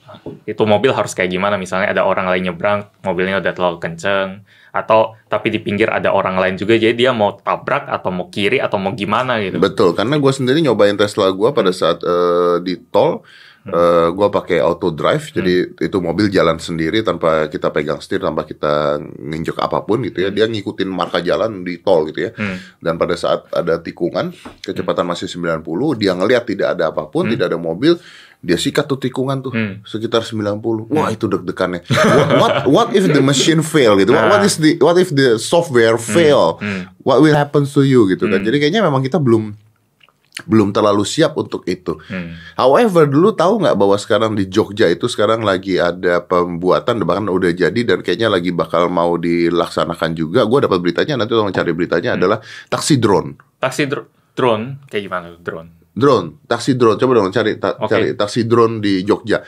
S1: itu mobil harus kayak gimana? Misalnya ada orang lain nyebrang, mobilnya udah terlalu kenceng, atau tapi di pinggir ada orang lain juga, jadi dia mau tabrak atau mau kiri atau mau gimana gitu. Hmm.
S2: Betul, karena gue sendiri nyobain Tesla gue pada saat eh, di tol, eh, gue pakai auto drive, jadi
S1: Hmm.
S2: itu mobil jalan sendiri tanpa kita pegang setir, tanpa kita nginjek apapun gitu ya, dia ngikutin marka jalan di tol gitu ya.
S1: Hmm.
S2: Dan pada saat ada tikungan, kecepatan masih 90, dia ngelihat tidak ada apapun, tidak ada mobil, dia sikat tuh tikungan tuh
S1: Hmm.
S2: sekitar 90. Wah, itu deg-degannya. what, what what if the machine fail gitu? What, what is the what if the software fail? What will happen to you gitu kan. Jadi kayaknya memang kita belum belum terlalu siap untuk itu.
S1: Hmm.
S2: However, dulu tahu nggak bahwa sekarang di Jogja itu sekarang lagi ada pembuatan bahkan udah jadi dan kayaknya lagi bakal mau dilaksanakan juga. Gue dapat beritanya nanti tolong cari
S1: Hmm.
S2: beritanya adalah taksi drone.
S1: Taksi dr- drone kayak gimana tuh drone?
S2: Drone, taksi drone, coba dong cari ta-
S1: Oke. Hmm.
S2: cari taksi drone di Jogja.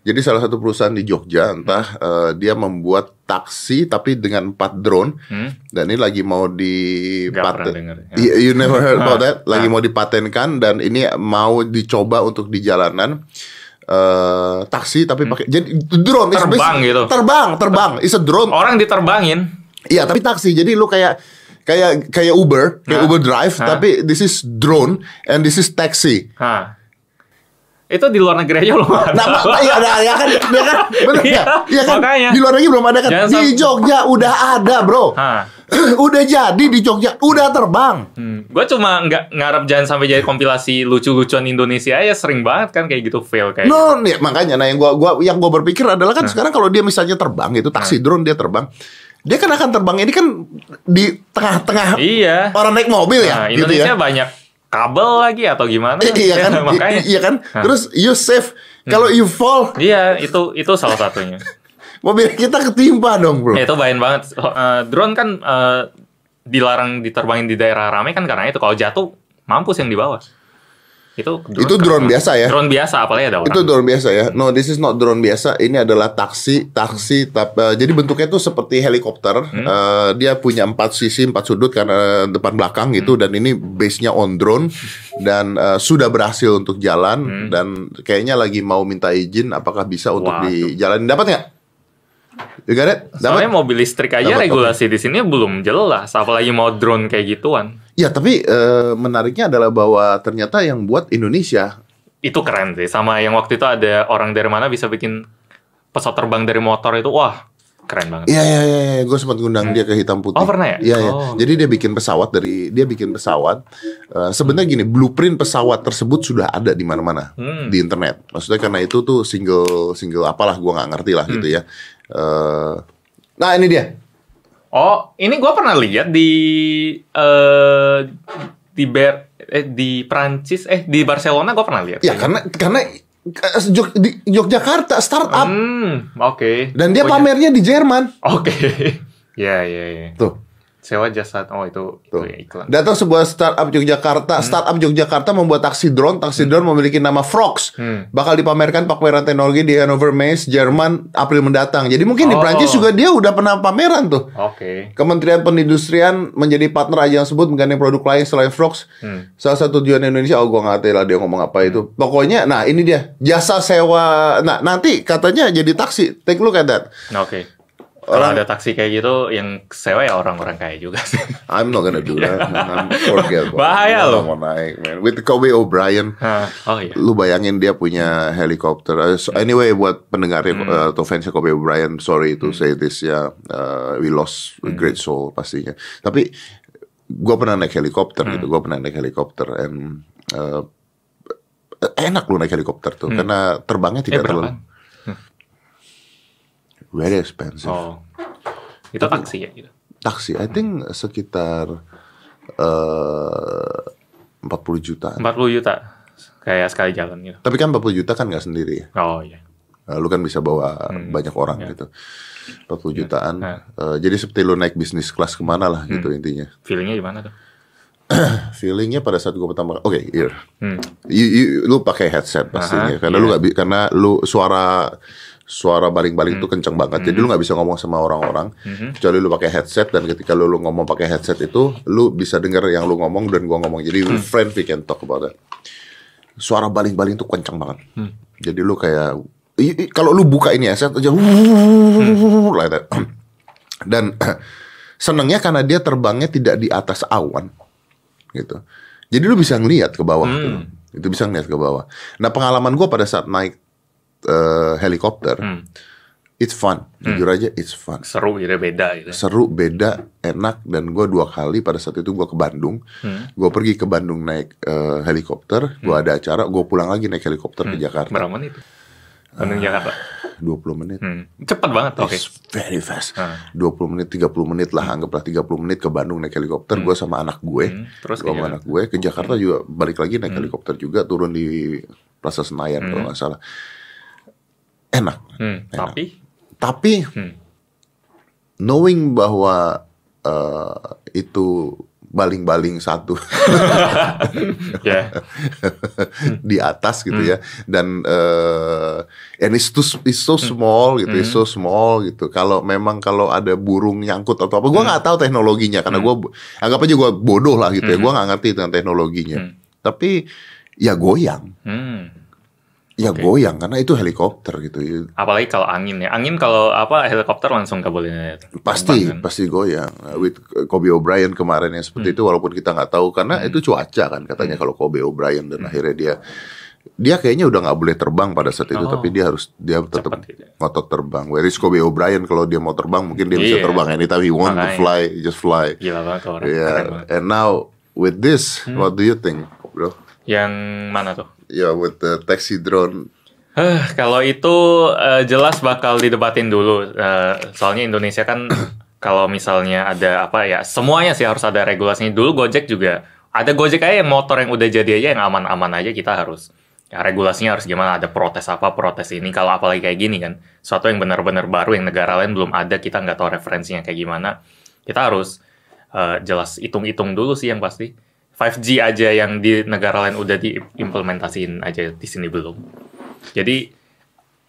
S2: Jadi salah satu perusahaan di Jogja, entah eh, dia membuat taksi tapi dengan empat drone,
S1: Hmm?
S2: dan ini lagi mau
S1: Nggak pernah
S2: dipaten.
S1: denger. Ya.
S2: You, you never heard about that. Lagi mau dipatenkan dan ini mau dicoba untuk di jalanan. eh taksi tapi pakai jadi drone It's
S1: Hmm. Terbang
S2: basic-
S1: gitu. Oh.
S2: terbang terbang is a drone
S1: Orang diterbangin.
S2: Iya, tapi taksi. Jadi lu kayak kayak kayak Uber, kayak
S1: Hah?
S2: Uber Drive,
S1: Hah?
S2: tapi this is drone and this is taxi.
S1: Hah. Itu di luar negeri aja loh.
S2: Nah, ma- ma- iya, nah, ya kan, ya kan, bener
S1: Iya,
S2: ya, iya kan.
S1: makanya.
S2: Di luar negeri belum ada kan.
S1: Jangan
S2: Di
S1: sam-
S2: Jogja udah ada, bro.
S1: Hah.
S2: udah jadi di Jogja, udah terbang.
S1: Gue Hmm. cuma nggak ngarep jangan sampai jadi kompilasi lucu-lucuan Indonesia ya sering banget kan kayak gitu fail kayak.
S2: No, nih, makanya nah yang gua gua yang gua berpikir adalah
S1: Nah.
S2: kan sekarang kalau dia misalnya terbang itu taksi drone dia terbang. Dia kan akan terbang ini kan di tengah-tengah
S1: Iya.
S2: orang naik mobil
S1: Nah,
S2: ya gitu
S1: Indonesia
S2: ya.
S1: banyak kabel lagi atau gimana?
S2: I- iya kan? I-
S1: Makanya. Nah.
S2: Iya kan? Terus you safe kalau you fall
S1: Iya, itu itu salah satunya.
S2: mobil kita ketimpa dong, Bro.
S1: Ya, itu bayan banget. So, eh, drone kan eh, dilarang diterbangin di daerah ramai kan karena itu kalau jatuh mampus yang di bawah. Itu
S2: Itu drone
S1: keren.
S2: biasa ya?
S1: Drone biasa apalagi ada orang.
S2: Itu drone biasa ya. No, this is not drone biasa. Ini adalah taksi, taksi. Tap, eh, jadi bentuknya tuh seperti helikopter.
S1: Hmm?
S2: Eh, dia punya empat sisi, empat sudut karena depan belakang gitu.
S1: Hmm.
S2: Dan ini base-nya on drone dan eh, sudah berhasil untuk jalan dan kayaknya lagi mau minta izin apakah bisa untuk
S1: Hmm. Waduh.
S2: dijalan. Dapat nggak? You got it? Dapat?
S1: Soalnya mobil listrik aja
S2: Dapat,
S1: regulasi di sini belum jelas, apalagi mau drone kayak gituan.
S2: Ya, tapi eh, menariknya adalah bahwa ternyata yang buat Indonesia.
S1: Itu keren sih. Sama yang waktu itu ada orang dari mana bisa bikin pesawat terbang dari motor itu, wah keren banget.
S2: Iya iya iya, iya. gue sempat ngundang dia ke hitam putih.
S1: Oh, pernah ya?
S2: Iya iya.
S1: Oh.
S2: Jadi dia bikin pesawat dari dia bikin pesawat. Eh, Sebenarnya gini, blueprint pesawat tersebut sudah ada di mana-mana
S1: Hmm.
S2: di internet. Maksudnya karena itu tuh single single apalah gue nggak ngerti lah
S1: Hmm.
S2: gitu ya. Eh, nah ini dia.
S1: Oh, ini gua pernah lihat di eh di Ber eh di Prancis eh di Barcelona gua pernah lihat.
S2: Ya karena karena eh, Jog- di Yogyakarta startup
S1: Hmm, oke.
S2: dan dia
S1: Oh,
S2: pamernya di Jerman.
S1: Oke. Ya, ya, ya.
S2: Tuh.
S1: Sewa jasa. Oh, itu itu
S2: Tuh.
S1: ya, iklan.
S2: Datang sebuah
S1: Hmm.
S2: startup Yogyakarta, startup Yogyakarta membuat taksi drone. Taksi drone memiliki nama Frogs.
S1: Hmm.
S2: Bakal dipamerkan pameran teknologi di Hanover Messe, Jerman, April mendatang. Jadi mungkin di
S1: Oh.
S2: Prancis juga dia udah pernah pameran tuh.
S1: Oke.
S2: Kementerian Perindustrian menjadi partner ajang tersebut menggandeng produk lain selain Frogs.
S1: Hmm.
S2: Salah satu tujuan Indonesia, oh gua nggak tahu lah dia ngomong apa itu. Pokoknya, nah ini dia jasa sewa. Nah nanti katanya jadi taksi. Take a look at that.
S1: Nah, Oke. Kalau ada taksi kayak gitu yang sewa ya orang-orang kaya juga sih.
S2: I'm not gonna do that. I'm forget.
S1: Bahaya
S2: Gua
S1: loh.
S2: nggak mau naik, man. With Kobe O'Brien.
S1: Hah, oh iya.
S2: lu bayangin dia punya helikopter. Uh, so Anyway, buat pendengar
S1: Hmm.
S2: uh, atau fans Kobe Bryant, sorry to say this ya, uh, we lost
S1: Hmm.
S2: a great soul pastinya. Tapi gua pernah naik helikopter
S1: Hmm.
S2: gitu, gua pernah naik helikopter and uh, enak lu naik helikopter tuh karena terbangnya
S1: Eh
S2: tidak terlalu
S1: berapa?
S2: very expensive.
S1: Oh. Itu taksi ya gitu.
S2: Taksi, I think
S1: Hmm.
S2: sekitar uh, 40 juta.
S1: 40 juta. Kayak sekali jalan gitu.
S2: Tapi kan 40 juta kan nggak sendiri ya.
S1: Oh iya.
S2: Nah, lu kan bisa bawa banyak orang gitu. 40 jutaan.
S1: Ya.
S2: Eh, jadi seperti lu naik bisnis kelas kemana lah gitu intinya.
S1: Feelingnya gimana tuh?
S2: Feelingnya pada saat gua pertama oke, ear.
S1: Hmm.
S2: You- you- lu pakai headset
S1: Aha,
S2: pastinya
S1: Iya.
S2: karena lu nggak bi- karena lu suara suara baling-baling itu
S1: Hmm.
S2: kenceng banget. Jadi lu nggak bisa ngomong sama orang-orang kecuali lu pakai headset dan ketika lu, lu ngomong pakai headset itu lu bisa dengar yang lu ngomong dan gua ngomong. Jadi
S1: Hmm.
S2: friend we can talk about that. Suara baling-baling itu kenceng banget.
S1: Hmm.
S2: Jadi lu kayak i- i- kalau lu buka ini headset aja
S1: Hmm.
S2: like that. Dan senengnya karena dia terbangnya tidak di atas awan gitu. Jadi lu bisa ngelihat ke bawah
S1: Hmm.
S2: gitu. Itu bisa ngelihat ke bawah. Nah, pengalaman gua pada saat naik eh, helikopter
S1: Hmm.
S2: it's fun. Jujur aja it's fun.
S1: Seru gitu beda gitu.
S2: Seru, beda, enak dan gua dua kali pada saat itu gua ke Bandung.
S1: Hmm.
S2: Gua pergi ke Bandung naik eh, helikopter, gua ada acara, gua pulang lagi naik helikopter
S1: Hmm.
S2: ke Jakarta
S1: Berapa menit?
S2: Ah.
S1: Bandung Jakarta.
S2: 20 menit.
S1: Hmm. Cepat banget. Oke.
S2: It's very fast.
S1: Ah.
S2: 20 menit, 30 menit lah, anggaplah 30 menit ke Bandung naik helikopter, gua sama anak gue.
S1: Hmm, terus Hmm.
S2: gua sama
S1: ke
S2: anak gue ke Jakarta juga balik lagi naik helikopter juga turun di Plaza Senayan kalau nggak salah. Enak.
S1: Hmm. Tapi
S2: Tapi
S1: Hmm.
S2: knowing bahwa eh, itu baling-baling satu
S1: ya. Hmm.
S2: di atas gitu ya dan eh and it's too it's
S1: Hmm.
S2: so small gitu it's so small gitu kalau memang kalau ada burung nyangkut atau apa gua
S1: Hmm.
S2: nggak tahu teknologinya karena gua bo- anggap aja gua bodoh lah gitu ya gua
S1: Hmm.
S2: nggak ngerti tentang teknologinya tapi ya goyang
S1: Hmm.
S2: ya goyang karena itu helikopter gitu
S1: Apalagi kalau angin ya. Angin kalau apa helikopter langsung nggak boleh naik.
S2: pasti
S1: Terbang, kan?
S2: pasti goyang Nah, with Kobe O'Brien kemarin yang
S1: Hmm.
S2: seperti itu walaupun kita nggak tahu karena itu cuaca kan katanya kalau Kobe O'Brien
S1: Hmm.
S2: dan akhirnya dia dia kayaknya udah nggak boleh terbang pada saat itu
S1: Oh.
S2: tapi dia harus dia tetap
S1: Cepat gitu.
S2: ngotot terbang where is Kobe O'Brien kalau dia mau terbang mungkin dia bisa
S1: Iya.
S2: terbang anytime he want to
S1: Makanya.
S2: fly he just fly
S1: Gila banget tuh orang. Keren
S2: yeah
S1: banget. Hmm.
S2: and now with this what do you think bro
S1: Yang mana tuh?
S2: yeah with the taxi drone
S1: Eh, kalau itu eh, jelas bakal didebatin dulu. Eh, soalnya Indonesia kan kalau misalnya ada apa ya semuanya sih harus ada regulasinya. Dulu Gojek juga ada Gojek aja yang motor yang udah jadi aja yang aman-aman aja kita harus ya, regulasinya harus gimana ada protes apa protes ini kalau apalagi kayak gini kan suatu yang benar-benar baru yang negara lain belum ada kita nggak tahu referensinya kayak gimana kita harus eh, jelas hitung-hitung dulu sih yang pasti 5G aja yang di negara lain udah diimplementasiin aja di sini belum jadi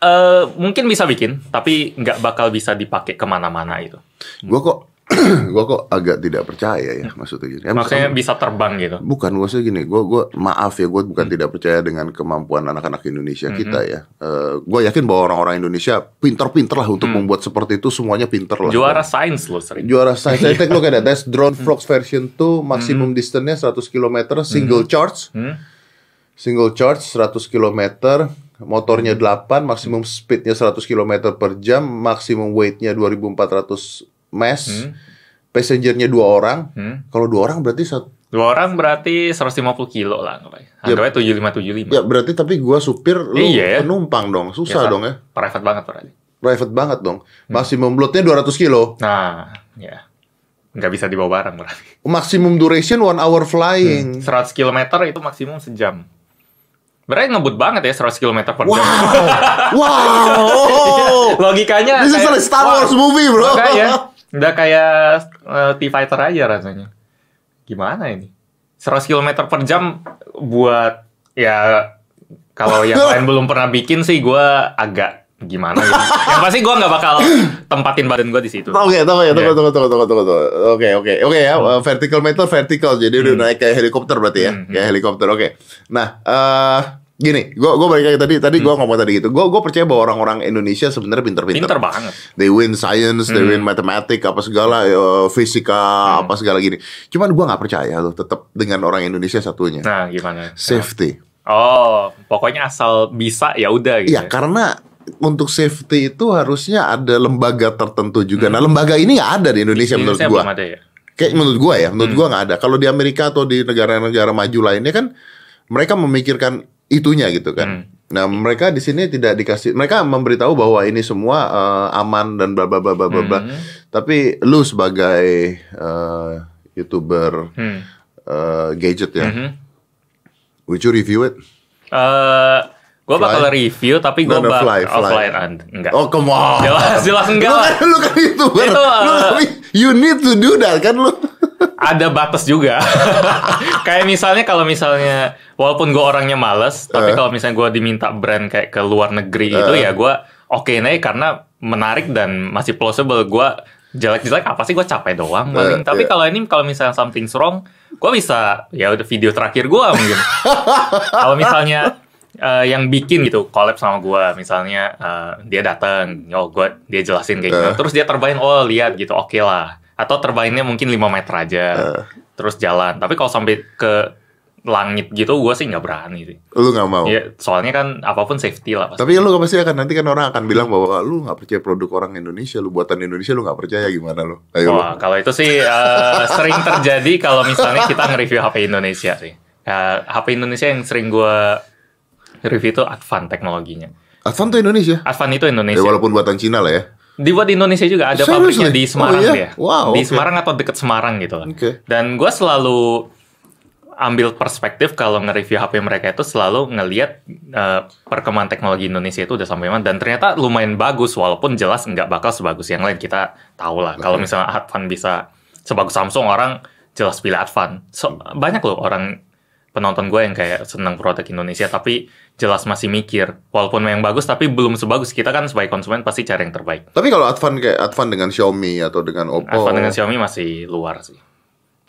S1: eh mungkin bisa bikin, tapi nggak bakal bisa dipakai kemana-mana itu.
S2: gua kok gua kok agak tidak percaya ya
S1: Hmm.
S2: maksudnya gini Em-
S1: Maksudnya bisa terbang gitu.
S2: Bukan maksudnya gini, gue gua maaf ya gue
S1: Hmm.
S2: bukan tidak percaya dengan kemampuan anak-anak Indonesia kita ya. gue yakin bahwa orang-orang Indonesia pinter-pinter lah untuk membuat seperti itu semuanya pinter lah.
S1: Hmm. Juara Hmm. sains loh sering.
S2: Juara science I take look at that. That's drone frogs version 2
S1: Hmm.
S2: maksimum distance-nya 100 km single charge.
S1: Hmm?
S2: Single charge 100 km motornya 8, maksimum speednya 100 km per jam, maksimum weightnya 2400 mass,
S1: Hmm.
S2: passengernya dua orang.
S1: Hmm.
S2: Kalau dua orang berarti satu,
S1: Dua orang berarti 150 kilo lah.
S2: Iya.
S1: Harganya 75-75.
S2: ya berarti tapi gua supir, lu
S1: Hmm. Iya ya.
S2: penumpang dong,
S1: Ya,
S2: susah
S1: Hmm.
S2: dong ya,
S1: Private banget berarti.
S2: private banget dong. Maksimum loadnya 200 kilo,
S1: Nah, ya. Nggak bisa dibawa barang berarti.
S2: maksimum duration one hour flying.
S1: 100 km itu maksimum sejam. Berarti ngebut banget ya 100 km per
S2: Wow,
S1: jam.
S2: wow,
S1: Logikanya
S2: this is
S1: Iya, kayak-
S2: a Star
S1: Wah,
S2: Wars movie bro.
S1: Makanya, udah kayak eh, TIE Fighter aja rasanya. Gimana ini? 100 km per jam buat ya kalau yang lain belum pernah bikin sih gua agak gimana gitu. yang pasti gua nggak bakal tempatin badan gua di situ.
S2: Oke, tunggu
S1: Iya.
S2: ya, tunggu,
S1: Hmm.
S2: tunggu, tunggu, tunggu, tunggu, tunggu. Oke, oke, oke ya. uh, vertical meter vertical, jadi udah naik kayak helikopter berarti ya, kayak helikopter. Oke. Nah, eh gini, gua gua balik lagi tadi, tadi gua ngomong tadi gitu. Gua gua percaya bahwa orang-orang Indonesia sebenarnya pinter-pinter.
S1: Hmm. Pinter banget.
S2: They win science, they win matematik, apa segala, eh, fisika, apa segala gini. Cuman gua nggak percaya loh, tetap dengan orang Indonesia satunya,
S1: Nah, gimana?
S2: safety.
S1: Oh, pokoknya asal bisa ya udah gitu.
S2: Iya, karena untuk safety itu harusnya ada lembaga tertentu juga. Nah, lembaga ini nggak ada di Indonesia
S1: Ini
S2: menurut
S1: saya
S2: gua.
S1: belum ada ya.
S2: Kayak menurut gua ya, menurut
S1: Hmm.
S2: gua nggak ada. Kalau di Amerika atau di negara-negara maju lainnya kan mereka memikirkan itunya gitu
S1: Hmm.
S2: kan. Nah, mereka di sini tidak dikasih mereka memberitahu bahwa ini semua eh, aman dan bla bla bla bla bla. bla.
S1: Hmm.
S2: Tapi lu sebagai eh, YouTuber
S1: Hmm.
S2: eh, gadget ya,
S1: Mhm.
S2: would you review it?
S1: Eh, gua
S2: Fly.
S1: bakal review tapi gua
S2: No, no,
S1: bakal
S2: fly, fly.
S1: offline and- enggak.
S2: Oh, come on.
S1: Jelas, jelas enggak
S2: Lu
S1: lah.
S2: kan, lu kan YouTuber.
S1: Ya. Itu,
S2: Lu
S1: eh,
S2: tapi you need to do that kan lu.
S1: ada batas juga. kayak misalnya kalau misalnya walaupun gue orangnya males, tapi
S2: Eh.
S1: kalau misalnya gue diminta brand kayak ke luar negeri gitu ya gue oke nih karena menarik dan masih plausible gue jelek-jelek apa sih gue capek doang paling.
S2: Eh,
S1: tapi
S2: iya.
S1: kalau ini kalau misalnya something wrong, gue bisa ya udah video terakhir gue mungkin. kalau misalnya eh, yang bikin gitu collab sama gue misalnya eh, dia datang, oh gue dia jelasin kayak gitu,
S2: Eh.
S1: terus dia terbain oh lihat gitu oke lah, atau terbainnya mungkin 5 meter aja,
S2: Eh.
S1: terus jalan. Tapi kalau sampai ke langit gitu, gue sih nggak berani sih.
S2: Lu nggak mau.
S1: Ya, soalnya kan apapun safety lah pasti.
S2: Tapi lu pasti akan nanti kan orang akan bilang bahwa lu nggak percaya produk orang Indonesia, lu buatan Indonesia lu nggak percaya gimana lu? Ayo lu.
S1: Wah, kalau itu sih eh, sering terjadi kalau misalnya kita nge-review HP Indonesia sih. Eh, HP Indonesia yang sering gue review itu Advan teknologinya.
S2: Advan tuh Indonesia.
S1: Advan itu
S2: Ya,
S1: Indonesia.
S2: walaupun buatan Cina lah ya.
S1: Dibuat di Indonesia juga ada
S2: Seriously?
S1: pabriknya di Semarang
S2: Oh, iya?
S1: dia.
S2: Wow,
S1: di
S2: oke.
S1: Semarang atau deket Semarang gitu lah.
S2: Oke.
S1: Dan gue selalu ambil perspektif kalau nge-review HP mereka itu selalu ngelihat eh, perkembangan teknologi Indonesia itu udah sampai mana dan ternyata lumayan bagus walaupun jelas nggak bakal sebagus yang lain kita tahu lah kalau misalnya Advan bisa sebagus Samsung orang jelas pilih Advan So, banyak loh orang penonton gue yang kayak senang produk Indonesia tapi jelas masih mikir walaupun memang bagus tapi belum sebagus kita kan sebagai konsumen pasti cari yang terbaik
S2: Tapi kalau Advan kayak Advan dengan Xiaomi atau dengan Oppo.
S1: iPhone dengan Xiaomi masih luar sih.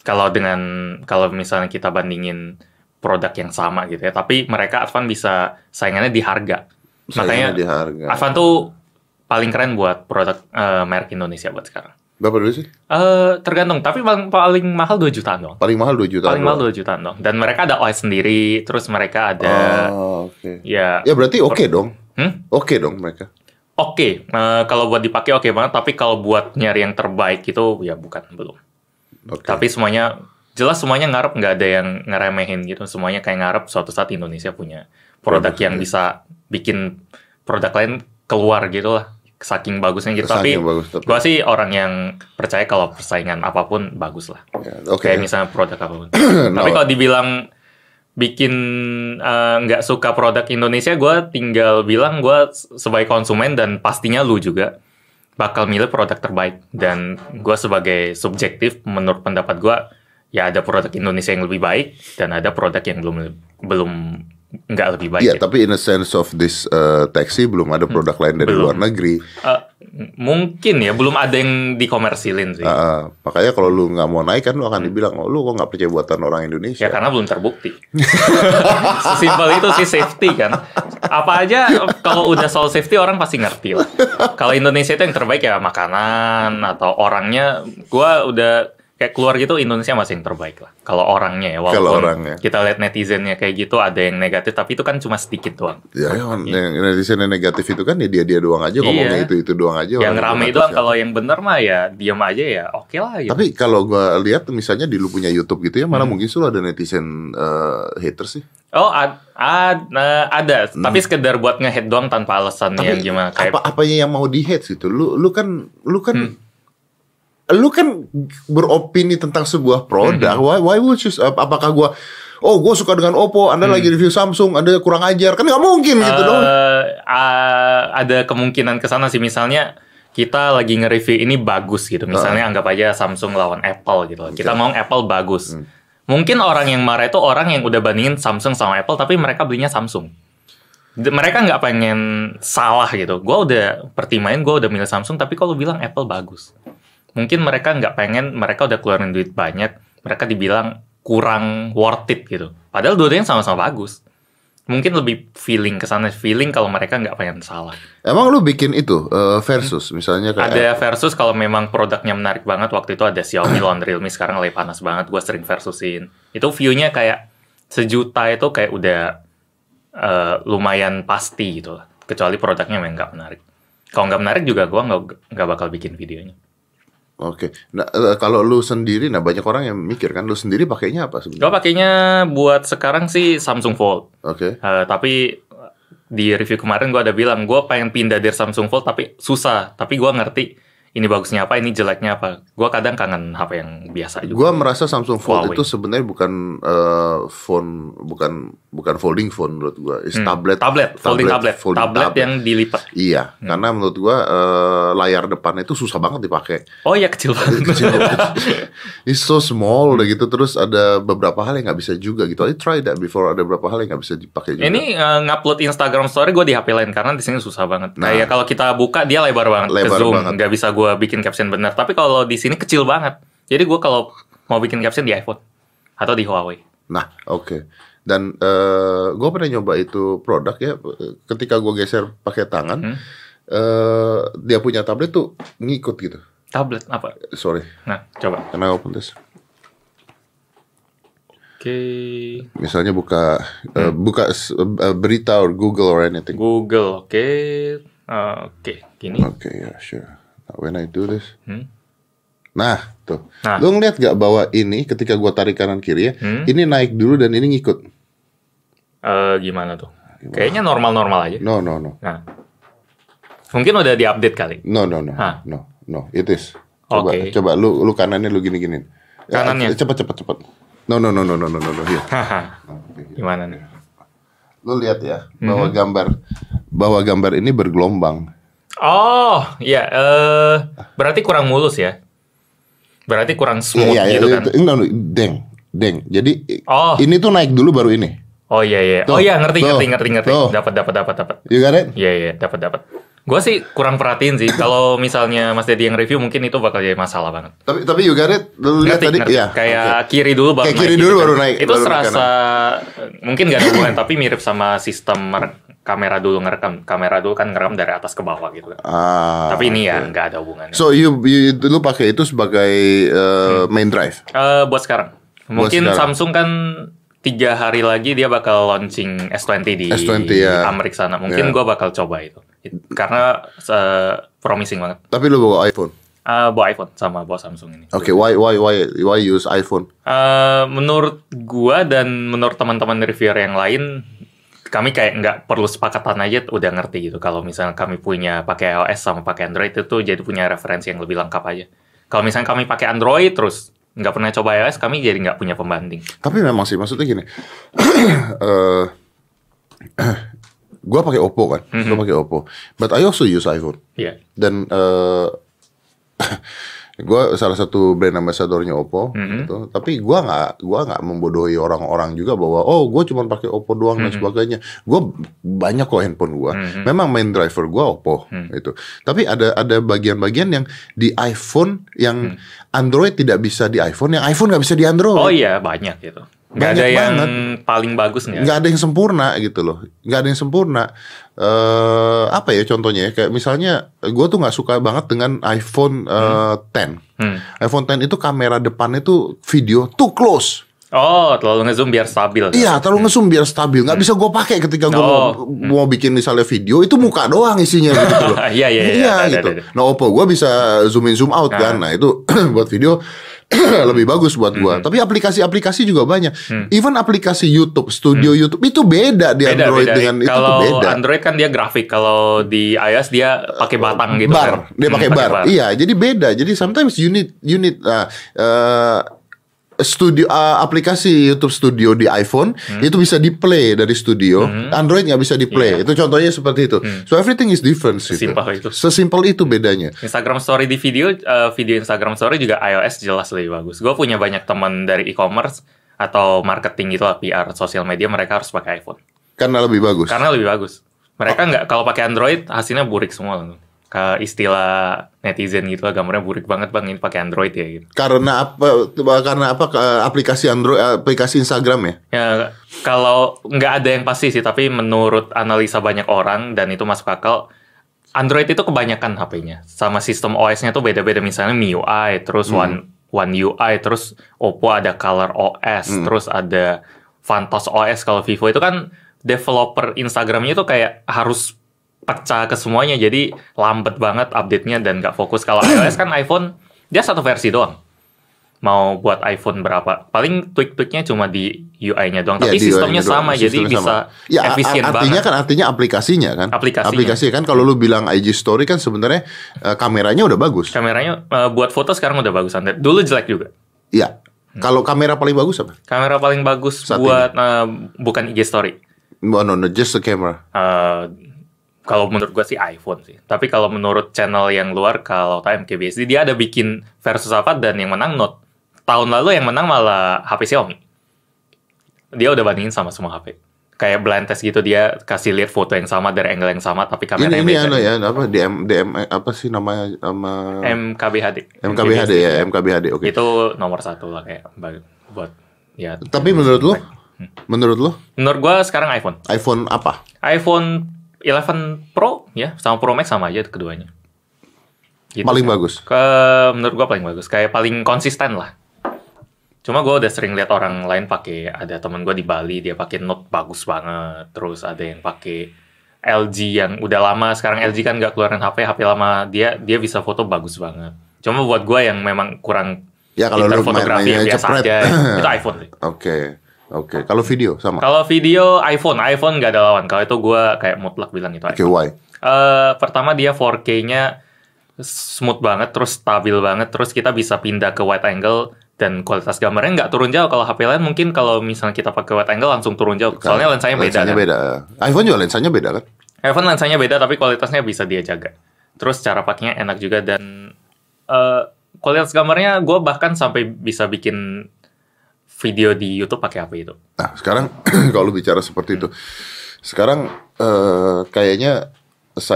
S1: Kalau dengan kalau misalnya kita bandingin produk yang sama gitu ya, tapi mereka Advan bisa saingannya di harga. Makanya
S2: Sayangnya di harga.
S1: Advan tuh paling keren buat produk eh, merek Indonesia buat sekarang.
S2: Berapa dulu sih?
S1: Eh tergantung, tapi paling, paling mahal 2 jutaan dong.
S2: Paling mahal 2 juta.
S1: Paling mahal 2 jutaan dong. Dan mereka ada OS sendiri, terus mereka ada
S2: Oh, oke.
S1: ya
S2: Ya berarti oke dong.
S1: Hmm?
S2: Oke dong mereka.
S1: Oke, eh, kalau buat dipakai oke banget, tapi kalau buat nyari yang terbaik itu ya bukan belum.
S2: Oke.
S1: Tapi semuanya jelas semuanya ngarep nggak ada yang ngeremehin gitu. Semuanya kayak ngarep suatu saat Indonesia punya produk
S2: Produk, iya.
S1: yang bisa bikin produk lain keluar gitu lah. Saking bagusnya gitu. tapi
S2: Saking bagus, tapi-
S1: gua sih orang yang percaya kalau persaingan apapun bagus lah.
S2: Ya, Oke.
S1: Kayak misalnya produk apapun. tapi
S2: Nah,
S1: kalau dibilang bikin eh, nggak suka produk Indonesia, gua tinggal bilang gua sebagai konsumen dan pastinya lu juga bakal milih produk terbaik. Dan gua sebagai subjektif, menurut pendapat gua ya ada produk Indonesia yang lebih baik dan ada produk yang belum belum nggak lebih baik.
S2: Iya,
S1: gitu.
S2: tapi in a sense of this uh, taxi belum ada produk lain dari
S1: Belum.
S2: luar negeri.
S1: Eh, mungkin ya belum ada yang dikomersilin sih.
S2: Ah, ah. makanya kalau lu nggak mau naik kan lu akan dibilang, oh, lu kok nggak percaya buatan orang
S1: Hmm.
S2: Indonesia?
S1: Ya karena belum terbukti. Sesimpel itu sih safety kan. Apa aja kalau udah soal safety orang pasti ngerti lah. Kalau Indonesia itu yang terbaik ya makanan atau orangnya. Gua udah kayak keluar gitu Indonesia masih yang terbaik lah. Kalau orangnya ya, walaupun
S2: Kalau orangnya.
S1: kita lihat netizennya kayak gitu ada yang negatif, tapi itu kan cuma sedikit doang.
S2: Ya, yang yang netizen yang negatif itu kan ya dia-dia doang aja
S1: Iya.
S2: ngomongnya itu-itu doang aja.
S1: yang
S2: orang
S1: rame
S2: negatif
S1: doang.
S2: ya.
S1: Kalau yang bener mah ya diam aja ya, oke lah. Gitu.
S2: Tapi kalau gua lihat misalnya di lu punya YouTube gitu ya, mana
S1: Hmm.
S2: mungkin selalu ada netizen eh, haters sih.
S1: oh ad, ad- nah, ada, tapi sekedar buat ngehead doang tanpa alasan yang
S2: Hmm. Tapi
S1: gimana Ya, kayak. Hmm.
S2: apa apanya yang mau di hate gitu? Lu lu kan lu kan lu kan beropini tentang sebuah
S1: Hmm.
S2: produk. Why why would you ap- apakah gua oh gua suka dengan Oppo, Anda lagi review Samsung, Anda kurang ajar. Kan nggak mungkin gitu
S1: Hmm. Eh,
S2: dong.
S1: ah, ada kemungkinan ke sana sih misalnya kita lagi nge-review ini bagus gitu. Misalnya anggap aja Samsung lawan Apple gitu. Kita ngomong Apple bagus. Mungkin orang yang marah itu orang yang udah bandingin Samsung sama Apple tapi mereka belinya Samsung. D- Mereka nggak pengen salah gitu. Gua udah pertimain gua udah milih Samsung tapi kalau bilang Apple bagus. Mungkin mereka nggak pengen mereka udah keluarin duit banyak, mereka dibilang kurang worth it gitu. Padahal dua-duanya sama-sama bagus mungkin lebih feeling ke sana feeling kalau mereka nggak pengen salah.
S2: Emang lu bikin itu eh, versus misalnya kayak
S1: Ada versus kalau memang produknya menarik banget waktu itu ada Xiaomi lawan Realme sekarang lagi panas banget gue sering versusin. Itu view-nya kayak sejuta itu kayak udah eh, lumayan pasti gitu lah. Kecuali produknya memang nggak menarik. Kalau nggak menarik juga gue nggak nggak bakal bikin videonya.
S2: Oke. Nah, eh, kalau lu sendiri nah banyak orang yang mikir kan lu sendiri pakainya apa
S1: Gue
S2: sebenarnya?
S1: pakainya buat sekarang sih Samsung Fold.
S2: Oke.
S1: Eh, tapi di review kemarin gue ada bilang gue pengen pindah dari Samsung Fold tapi susah. Tapi gue ngerti ini bagusnya apa, ini jeleknya apa. Gue kadang kangen HP yang biasa juga.
S2: Gua merasa Samsung Fold
S1: Huawei.
S2: itu sebenarnya bukan eh, phone bukan bukan folding phone menurut gua. It's
S1: Hmm.
S2: tablet.
S1: tablet, folding tablet,
S2: folding
S1: tablet, yang Hmm. dilipat.
S2: Iya, karena menurut gua eh, layar depannya itu susah banget dipakai.
S1: Oh ya kecil banget.
S2: Kecil banget. It's so small udah gitu terus ada beberapa hal yang nggak bisa juga gitu. I tried that before ada beberapa hal yang nggak bisa dipakai juga.
S1: ini eh, ngupload Instagram Story gue di HP lain karena di sini susah banget.
S2: Nah.
S1: Kayak kalau kita buka dia lebar banget
S2: Lebar
S1: ke zoom,
S2: banget.
S1: nggak bisa gue bikin caption benar. Tapi kalau di sini kecil banget. Jadi gue kalau mau bikin caption di iPhone atau di Huawei.
S2: Nah, oke. Dan eh gue pernah nyoba itu produk ya. Ketika gue geser pakai tangan, eh
S1: Hmm.
S2: dia punya tablet tuh ngikut gitu.
S1: Tablet apa?
S2: Sorry,
S1: Nah coba.
S2: karena open this.
S1: Oke.
S2: Misalnya buka eh,
S1: Hmm.
S2: buka s- eh, berita or Google or anything.
S1: Google, oke. Eh, oke, gini.
S2: Oke, ya sure. Now, when I do this,
S1: Hmm.
S2: nah tuh,
S1: Nah.
S2: lu ngeliat gak bahwa ini ketika gue tarik kanan kiri ya,
S1: Hmm.
S2: ini naik dulu dan ini ngikut.
S1: Eh, gimana tuh? Kayaknya normal-normal aja.
S2: No, no, no,
S1: Nah. Mungkin udah di-update kali.
S2: no, no, no,
S1: Hah.
S2: no, no, it is. Coba,
S1: Oke.
S2: coba lu lu kanannya lu gini giniin.
S1: Kanannya?
S2: Cepat cepat cepat. No, no, no, no, no, no, no, no. Here.
S1: Haha. gimana nih?
S2: Lu lihat ya
S1: Mhm.
S2: bahwa gambar bahwa gambar ini bergelombang.
S1: Oh, ya eh berarti kurang mulus ya. Berarti kurang smooth
S2: Iya, iya,
S1: gitu
S2: iya,
S1: kan.
S2: itu- no, no, deng, deng. Jadi i-
S1: Oh.
S2: ini tuh naik dulu baru ini.
S1: Oh iya iya.
S2: Tuh,
S1: Oh iya, ngerti
S2: tuh,
S1: ngerti ngerti ngerti.
S2: tuh.
S1: Dapat dapat dapat dapat.
S2: You got it?
S1: Iya iya, dapat dapat. Gua sih kurang perhatiin sih. Kalau misalnya Mas Dedi yang review mungkin itu bakal jadi masalah banget.
S2: Tapi tapi you got it? Lu lihat
S1: Ngerti,
S2: tadi?
S1: ngerti.
S2: Iya.
S1: kayak
S2: oke.
S1: kiri dulu baru
S2: Kayak kiri
S1: naik
S2: dulu
S1: gitu
S2: baru
S1: kan.
S2: naik,
S1: itu
S2: baru
S1: serasa mungkin gak ada hubungan tapi mirip sama sistem mere- kamera dulu ngerekam kamera dulu kan ngerekam dari atas ke bawah gitu kan
S2: Ah.
S1: tapi ini ya nggak ada hubungannya
S2: So you, you lu pakai itu sebagai uh, main drive.
S1: Eh, buat sekarang mungkin
S2: sekarang.
S1: Samsung kan tiga hari lagi dia bakal launching S20 di
S2: S20, ya.
S1: Amerika sana mungkin
S2: Ya.
S1: gua bakal coba itu It- karena eh, promising banget
S2: Tapi lu bawa iPhone.
S1: Eh, bawa iPhone sama bawa Samsung ini
S2: Oke, why why why why use iPhone?
S1: Eh, menurut gua dan menurut teman-teman reviewer yang lain kami kayak nggak perlu sepakatan aja udah ngerti gitu kalau misalnya kami punya pakai iOS sama pakai Android itu jadi punya referensi yang lebih lengkap aja kalau misalnya kami pakai Android terus nggak pernah coba iOS kami jadi nggak punya pembanding
S2: Tapi memang sih maksudnya gini. eh gua pakai Oppo kan. Gua pakai Oppo. But I also use iPhone.
S1: Iya.
S2: Dan eh gua salah satu brand ambassadornya Oppo gitu. Tapi gua nggak gua nggak membodohi orang-orang juga bahwa oh, gua cuma pakai Oppo doang dan sebagainya. Gua banyak kok handphone gua. Memang main driver gua Oppo itu. Tapi ada ada bagian-bagian yang di iPhone yang Android tidak bisa di iPhone, yang iPhone nggak bisa di Android.
S1: oh iya banyak gitu Nggak ada
S2: Banyak
S1: yang
S2: banget.
S1: paling bagus nggak?
S2: nggak ada yang sempurna gitu loh nggak ada yang sempurna eh apa ya contohnya ya kayak misalnya gue tuh nggak suka banget dengan iPhone eh, 10
S1: Hmm.
S2: iPhone 10 itu kamera depannya tuh video too close
S1: Oh, terlalu ngezoom biar stabil. kan?
S2: Iya, terlalu ngezoom biar stabil. Nggak bisa gue pakai ketika gue mau,
S1: Hmm. Oh.
S2: mau bikin misalnya video itu muka doang isinya gitu loh.
S1: Iya, iya, iya.
S2: Iya
S1: Ada, ada,
S2: gitu.
S1: ada. Ah.
S2: Nah Oppo gue bisa zoom in zoom out kan. Nah itu buat video lebih bagus buat gue.
S1: Hmm.
S2: Tapi aplikasi-aplikasi juga banyak. Even aplikasi YouTube, Studio YouTube itu beda di
S1: Hmm. Beda,
S2: Android
S1: beda.
S2: dengan itu tuh
S1: Kalau
S2: beda.
S1: Android kan dia grafik, kalau di iOS dia pakai batang gitu
S2: bar,
S1: kan.
S2: dia
S1: Hmm,
S2: pakai bar. Iya, jadi beda. Jadi sometimes you need you need uh, uh, studio uh, aplikasi YouTube Studio di iPhone
S1: Hmm.
S2: itu bisa di play dari studio. Android nggak bisa di play. Itu contohnya seperti itu. So everything is different. gitu.
S1: Iya. Hmm. Sesimpel itu.
S2: Sesimpel itu bedanya.
S1: Instagram story di video, eh, video Instagram story juga iOS jelas lebih bagus. Gue punya banyak teman dari e-commerce atau marketing gitu lah, PR, sosial media, mereka harus pakai iPhone.
S2: Karena lebih bagus.
S1: Karena lebih bagus. Mereka nggak, kalau pakai Android, hasilnya burik semua. loh. Ke istilah netizen gitu lah, gambarnya burik banget bang, ini pakai Android ya gitu.
S2: Karena apa? Karena apa? eh, Aplikasi Android, aplikasi Instagram ya.
S1: Ya, kalau nggak ada yang pasti sih, tapi menurut analisa banyak orang dan itu masuk akal, Android itu kebanyakan HP-nya. Sama sistem OS-nya tuh beda-beda. Misalnya MIUI, terus One One UI, terus Oppo ada Color OS, terus ada Fantos OS kalau Vivo itu kan developer Instagramnya itu kayak harus pecah ke semuanya. Jadi lambat banget update-nya dan nggak fokus. Kalau iOS kan iPhone dia satu versi doang. Mau buat iPhone berapa? Paling tweak-tweaknya cuma di UI-nya doang. Tapi
S2: Ya, di
S1: sistemnya
S2: UI-nya doang.
S1: sama, jadi
S2: Sistemnya
S1: bisa
S2: sama. ya, a-
S1: efisien
S2: artinya
S1: banget.
S2: kan artinya aplikasinya kan.
S1: Aplikasinya.
S2: Aplikasi kan kalau lu bilang IG story kan sebenarnya eh, kameranya udah bagus.
S1: Kameranya eh, buat foto sekarang udah bagus Andre. Dulu jelek juga.
S2: Iya.
S1: Hmm.
S2: Kalau kamera paling bagus apa?
S1: Kamera paling bagus
S2: Saat
S1: buat eh, bukan IG story.
S2: Oh, No, no, no, just the camera.
S1: Eh, kalau menurut gua sih iPhone sih. Tapi kalau menurut channel yang luar kalau Time KBSD dia ada bikin versus apa dan yang menang Note. Tahun lalu yang menang malah HP Xiaomi. Dia udah bandingin sama semua HP. Kayak blind test gitu dia kasih lihat foto yang sama dari angle yang sama tapi
S2: Ini
S1: kameranya
S2: ini
S1: beda.
S2: anu ya, apa DM DM eh, apa sih namanya sama
S1: MKBHD.
S2: MKBHD ya, MKBHD. Oke.
S1: Itu nomor satu lah kayak ba- buat ya.
S2: Tapi menurut lu?
S1: Hmm.
S2: Menurut lu
S1: Menurut gua sekarang iPhone.
S2: iPhone apa?
S1: iPhone 11 Pro ya sama Pro Max sama aja keduanya. Gitu.
S2: Paling bagus.
S1: Ke menurut gua paling bagus, kayak paling konsisten lah. Cuma gua udah sering lihat orang lain pakai ada temen gua di Bali dia pakai Note bagus banget, terus ada yang pakai LG yang udah lama sekarang LG kan nggak keluarin HP HP lama dia dia bisa foto bagus banget. Cuma buat gua yang memang kurang
S2: Ya, kalau
S1: pinter
S2: lu main- mainnya
S1: biasa
S2: cepret.
S1: aja itu iPhone sih.
S2: Oke. Oke, kalau video sama.
S1: Kalau video iPhone, iPhone nggak ada lawan. Kalau itu gua kayak mutlak bilang itu
S2: Oke,
S1: eh
S2: why?
S1: pertama dia 4K-nya smooth banget, terus stabil banget, terus kita bisa pindah ke wide angle dan kualitas gambarnya nggak turun jauh. Kalau HP lain mungkin kalau misalnya kita pakai wide angle langsung turun jauh. Soalnya lensanya beda.
S2: Lensanya
S1: kan?
S2: beda. iPhone juga lensanya beda kan?
S1: iPhone lensanya beda tapi kualitasnya bisa dia jaga. Terus cara pakainya enak juga dan eh, kualitas gambarnya gue bahkan sampai bisa bikin video di YouTube pakai HP itu.
S2: Nah, sekarang kalau lu bicara seperti itu, sekarang eh, kayaknya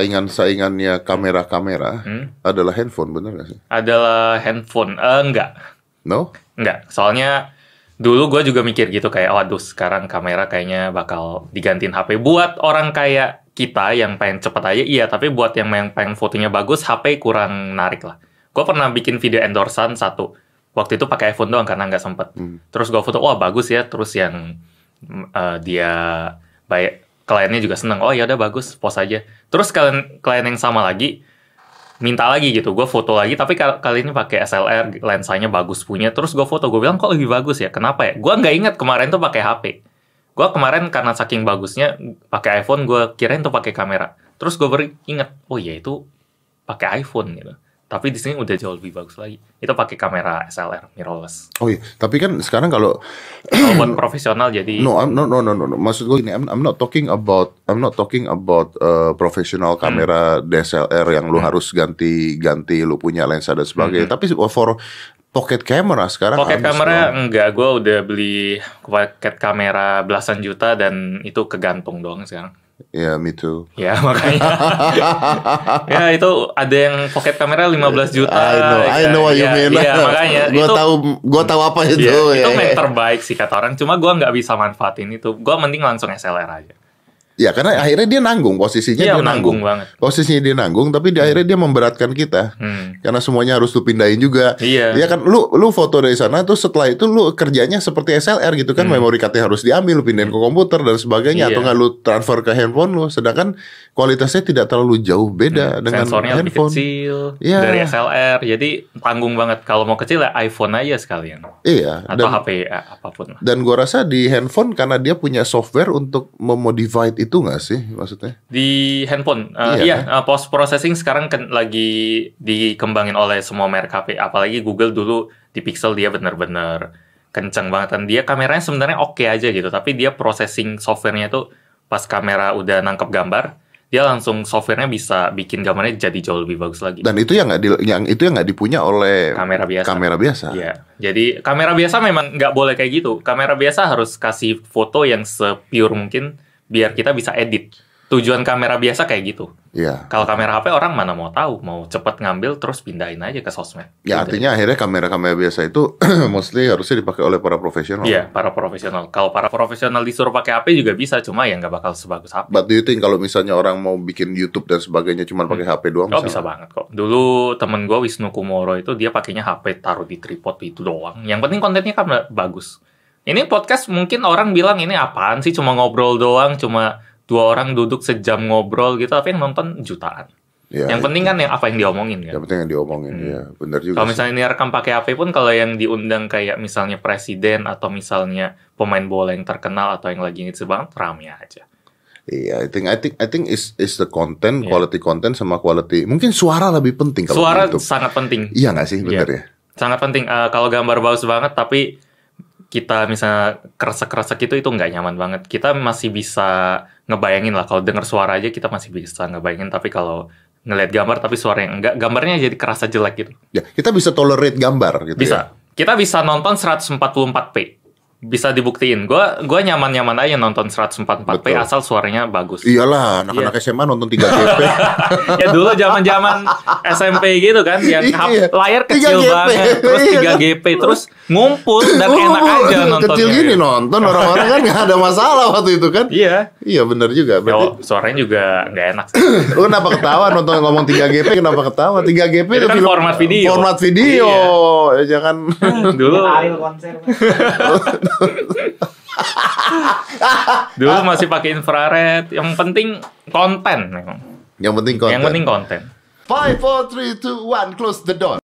S2: saingan-saingannya kamera-kamera
S1: Hmm.
S2: adalah handphone, bener gak sih?
S1: Adalah handphone, Eh, enggak.
S2: No?
S1: Enggak, soalnya dulu gue juga mikir gitu kayak, waduh sekarang kamera kayaknya bakal digantiin HP. Buat orang kayak kita yang pengen cepet aja, iya. Tapi buat yang yang pengen fotonya bagus, HP kurang menarik lah. Gue pernah bikin video endorsean satu. Waktu itu pakai iPhone doang karena nggak sempet. Terus gue foto, wah bagus ya. Terus yang mm, eh, dia baik kliennya juga seneng. Oh ya udah bagus, post aja. Terus kalian klien yang sama lagi minta lagi gitu gue foto lagi tapi kal- kali ini pakai SLR lensanya bagus punya terus gue foto gue bilang kok lebih bagus ya kenapa ya gue nggak ingat kemarin tuh pakai HP gue kemarin karena saking bagusnya pakai iPhone gue kirain tuh pakai kamera terus gue beringat oh ya itu pakai iPhone gitu tapi di sini udah jauh lebih bagus lagi itu pakai kamera SLR mirrorless
S2: Oh iya, tapi kan sekarang kalau
S1: kalau buat profesional jadi
S2: no, I'm, no, no, no, no, no. maksud gue ini, I'm, I'm not talking about, I'm not talking about eh, professional
S1: Hmm.
S2: kamera DSLR yang lu harus ganti-ganti, lu punya lensa dan sebagainya. Tapi for pocket camera
S1: Hmm.
S2: sekarang,
S1: Pocket
S2: habis
S1: kamera
S2: kan doang.
S1: enggak, gue udah beli pocket kamera belasan juta dan itu kegantung doang sekarang.
S2: Ya, me too.
S1: Ya makanya. ya itu ada yang pocket kamera 15 juta.
S2: I know, I
S1: ya,
S2: know what you
S1: ya,
S2: mean.
S1: Iya makanya.
S2: gua
S1: itu,
S2: tahu, gua tahu apa itu.
S1: ya, itu
S2: ya,
S1: yang
S2: ya.
S1: terbaik sih kata orang. Cuma gua nggak bisa manfaatin itu. Gua mending langsung SLR aja.
S2: Ya, karena akhirnya dia nanggung posisinya
S1: Iya
S2: dia
S1: menanggung Hmm.
S2: nanggung.
S1: banget.
S2: Posisinya dia nanggung, tapi di akhirnya dia memberatkan kita.
S1: Hmm.
S2: Karena semuanya harus lu pindahin juga.
S1: Iya.
S2: Ya kan lu lu foto dari sana tuh setelah itu lu kerjanya seperti SLR gitu kan memori cardnya harus diambil lu pindahin ke komputer dan sebagainya
S1: Hmm.
S2: atau
S1: Iya.
S2: nggak lu transfer ke handphone lu sedangkan kualitasnya tidak terlalu jauh beda
S1: Hmm,
S2: dengan
S1: Sensornya lebih
S2: handphone.
S1: kecil
S2: Iya.
S1: dari SLR. Jadi tanggung banget. Kalau mau kecil ya iPhone aja sekalian.
S2: Iya
S1: Atau
S2: dan
S1: HP ya, apapun lah.
S2: dan gua rasa di handphone karena dia punya software untuk memodified itu nggak sih maksudnya?
S1: Di handphone, eh,
S2: Iya.
S1: iya, eh, post processing sekarang ken- lagi dikembangin oleh semua merek HP. Apalagi Google dulu di Pixel dia bener-bener kenceng banget. Dan dia kameranya sebenarnya oke aja gitu, tapi dia processing softwarenya tuh pas kamera udah nangkep gambar, dia langsung softwarenya bisa bikin gambarnya jadi jauh lebih bagus lagi.
S2: Dan itu yang nggak di- yang itu yang nggak dipunya oleh
S1: Kamera biasa.
S2: Kamera biasa.
S1: Iya, jadi kamera biasa memang nggak boleh kayak gitu. Kamera biasa harus kasih foto yang sepure mungkin biar kita bisa edit. Tujuan kamera biasa kayak gitu.
S2: Iya.
S1: Kalau kamera HP orang mana mau tahu, mau cepet ngambil terus pindahin aja ke sosmed. Gitu.
S2: Ya artinya akhirnya kamera-kamera biasa itu mostly harusnya dipakai oleh para profesional.
S1: Iya, para profesional. Kalau para profesional disuruh pakai HP juga bisa, cuma ya nggak bakal sebagus HP.
S2: But do you think kalau misalnya orang mau bikin YouTube dan sebagainya cuma pakai HP doang
S1: Oh bisa banget kok. Dulu temen gue Wisnu Kumoro itu dia pakainya HP taruh di tripod itu doang. Yang penting kontennya kan ba- bagus. Ini podcast mungkin orang bilang ini apaan sih cuma ngobrol doang, cuma dua orang duduk sejam ngobrol gitu, tapi yang nonton jutaan.
S2: Ya,
S1: yang penting kan yang apa yang diomongin kan.
S2: yang penting yang diomongin
S1: Hmm.
S2: ya, benar juga.
S1: Kalau
S2: sih.
S1: misalnya ini rekam pakai HP pun kalau yang diundang kayak misalnya presiden atau misalnya pemain bola yang terkenal atau yang lagi ngisi banget rame aja.
S2: Iya, I think I think I think is is the content,
S1: Iya.
S2: quality content sama quality. Mungkin suara lebih penting kalau
S1: Suara
S2: di YouTube.
S1: sangat penting.
S2: Iya nggak sih, benar ya?
S1: Sangat penting Eh, kalau gambar bagus banget tapi kita misalnya kresek-kresek itu itu nggak nyaman banget. Kita masih bisa ngebayangin lah kalau denger suara aja kita masih bisa ngebayangin tapi kalau ngelihat gambar tapi suara yang enggak gambarnya jadi kerasa jelek gitu.
S2: Ya, kita bisa tolerate gambar gitu ya.
S1: Bisa. Kita bisa nonton 144p. Bisa dibuktiin. Gua gua nyaman-nyaman aja nonton 144p
S2: Betul. Iya.
S1: asal suaranya bagus.
S2: Iyalah, anak-anak SMA nonton 3 GP.
S1: ya dulu zaman-zaman SMP gitu kan yang hap-
S2: Iya.
S1: layar kecil
S2: 3GP.
S1: banget, terus
S2: Iya.
S1: 3GP, terus ngumpul dan
S2: Lu
S1: enak aja nontonnya.
S2: Kecil gini nonton orang-orang kan nggak ada masalah waktu itu kan.
S1: Iya.
S2: Iya benar
S1: Ya,
S2: juga. Berarti
S1: suaranya juga nggak enak sih.
S2: lu kenapa ketawa nonton ngomong 3 GP kenapa ketawa 3 GP
S1: Itu kan format video. Iya.
S2: format video ya jangan
S1: Dulu
S3: Ariel konser.
S1: dulu masih pakai infrared. Yang penting konten memang.
S2: yang penting konten
S1: Yang penting konten.
S2: five four three two one close the door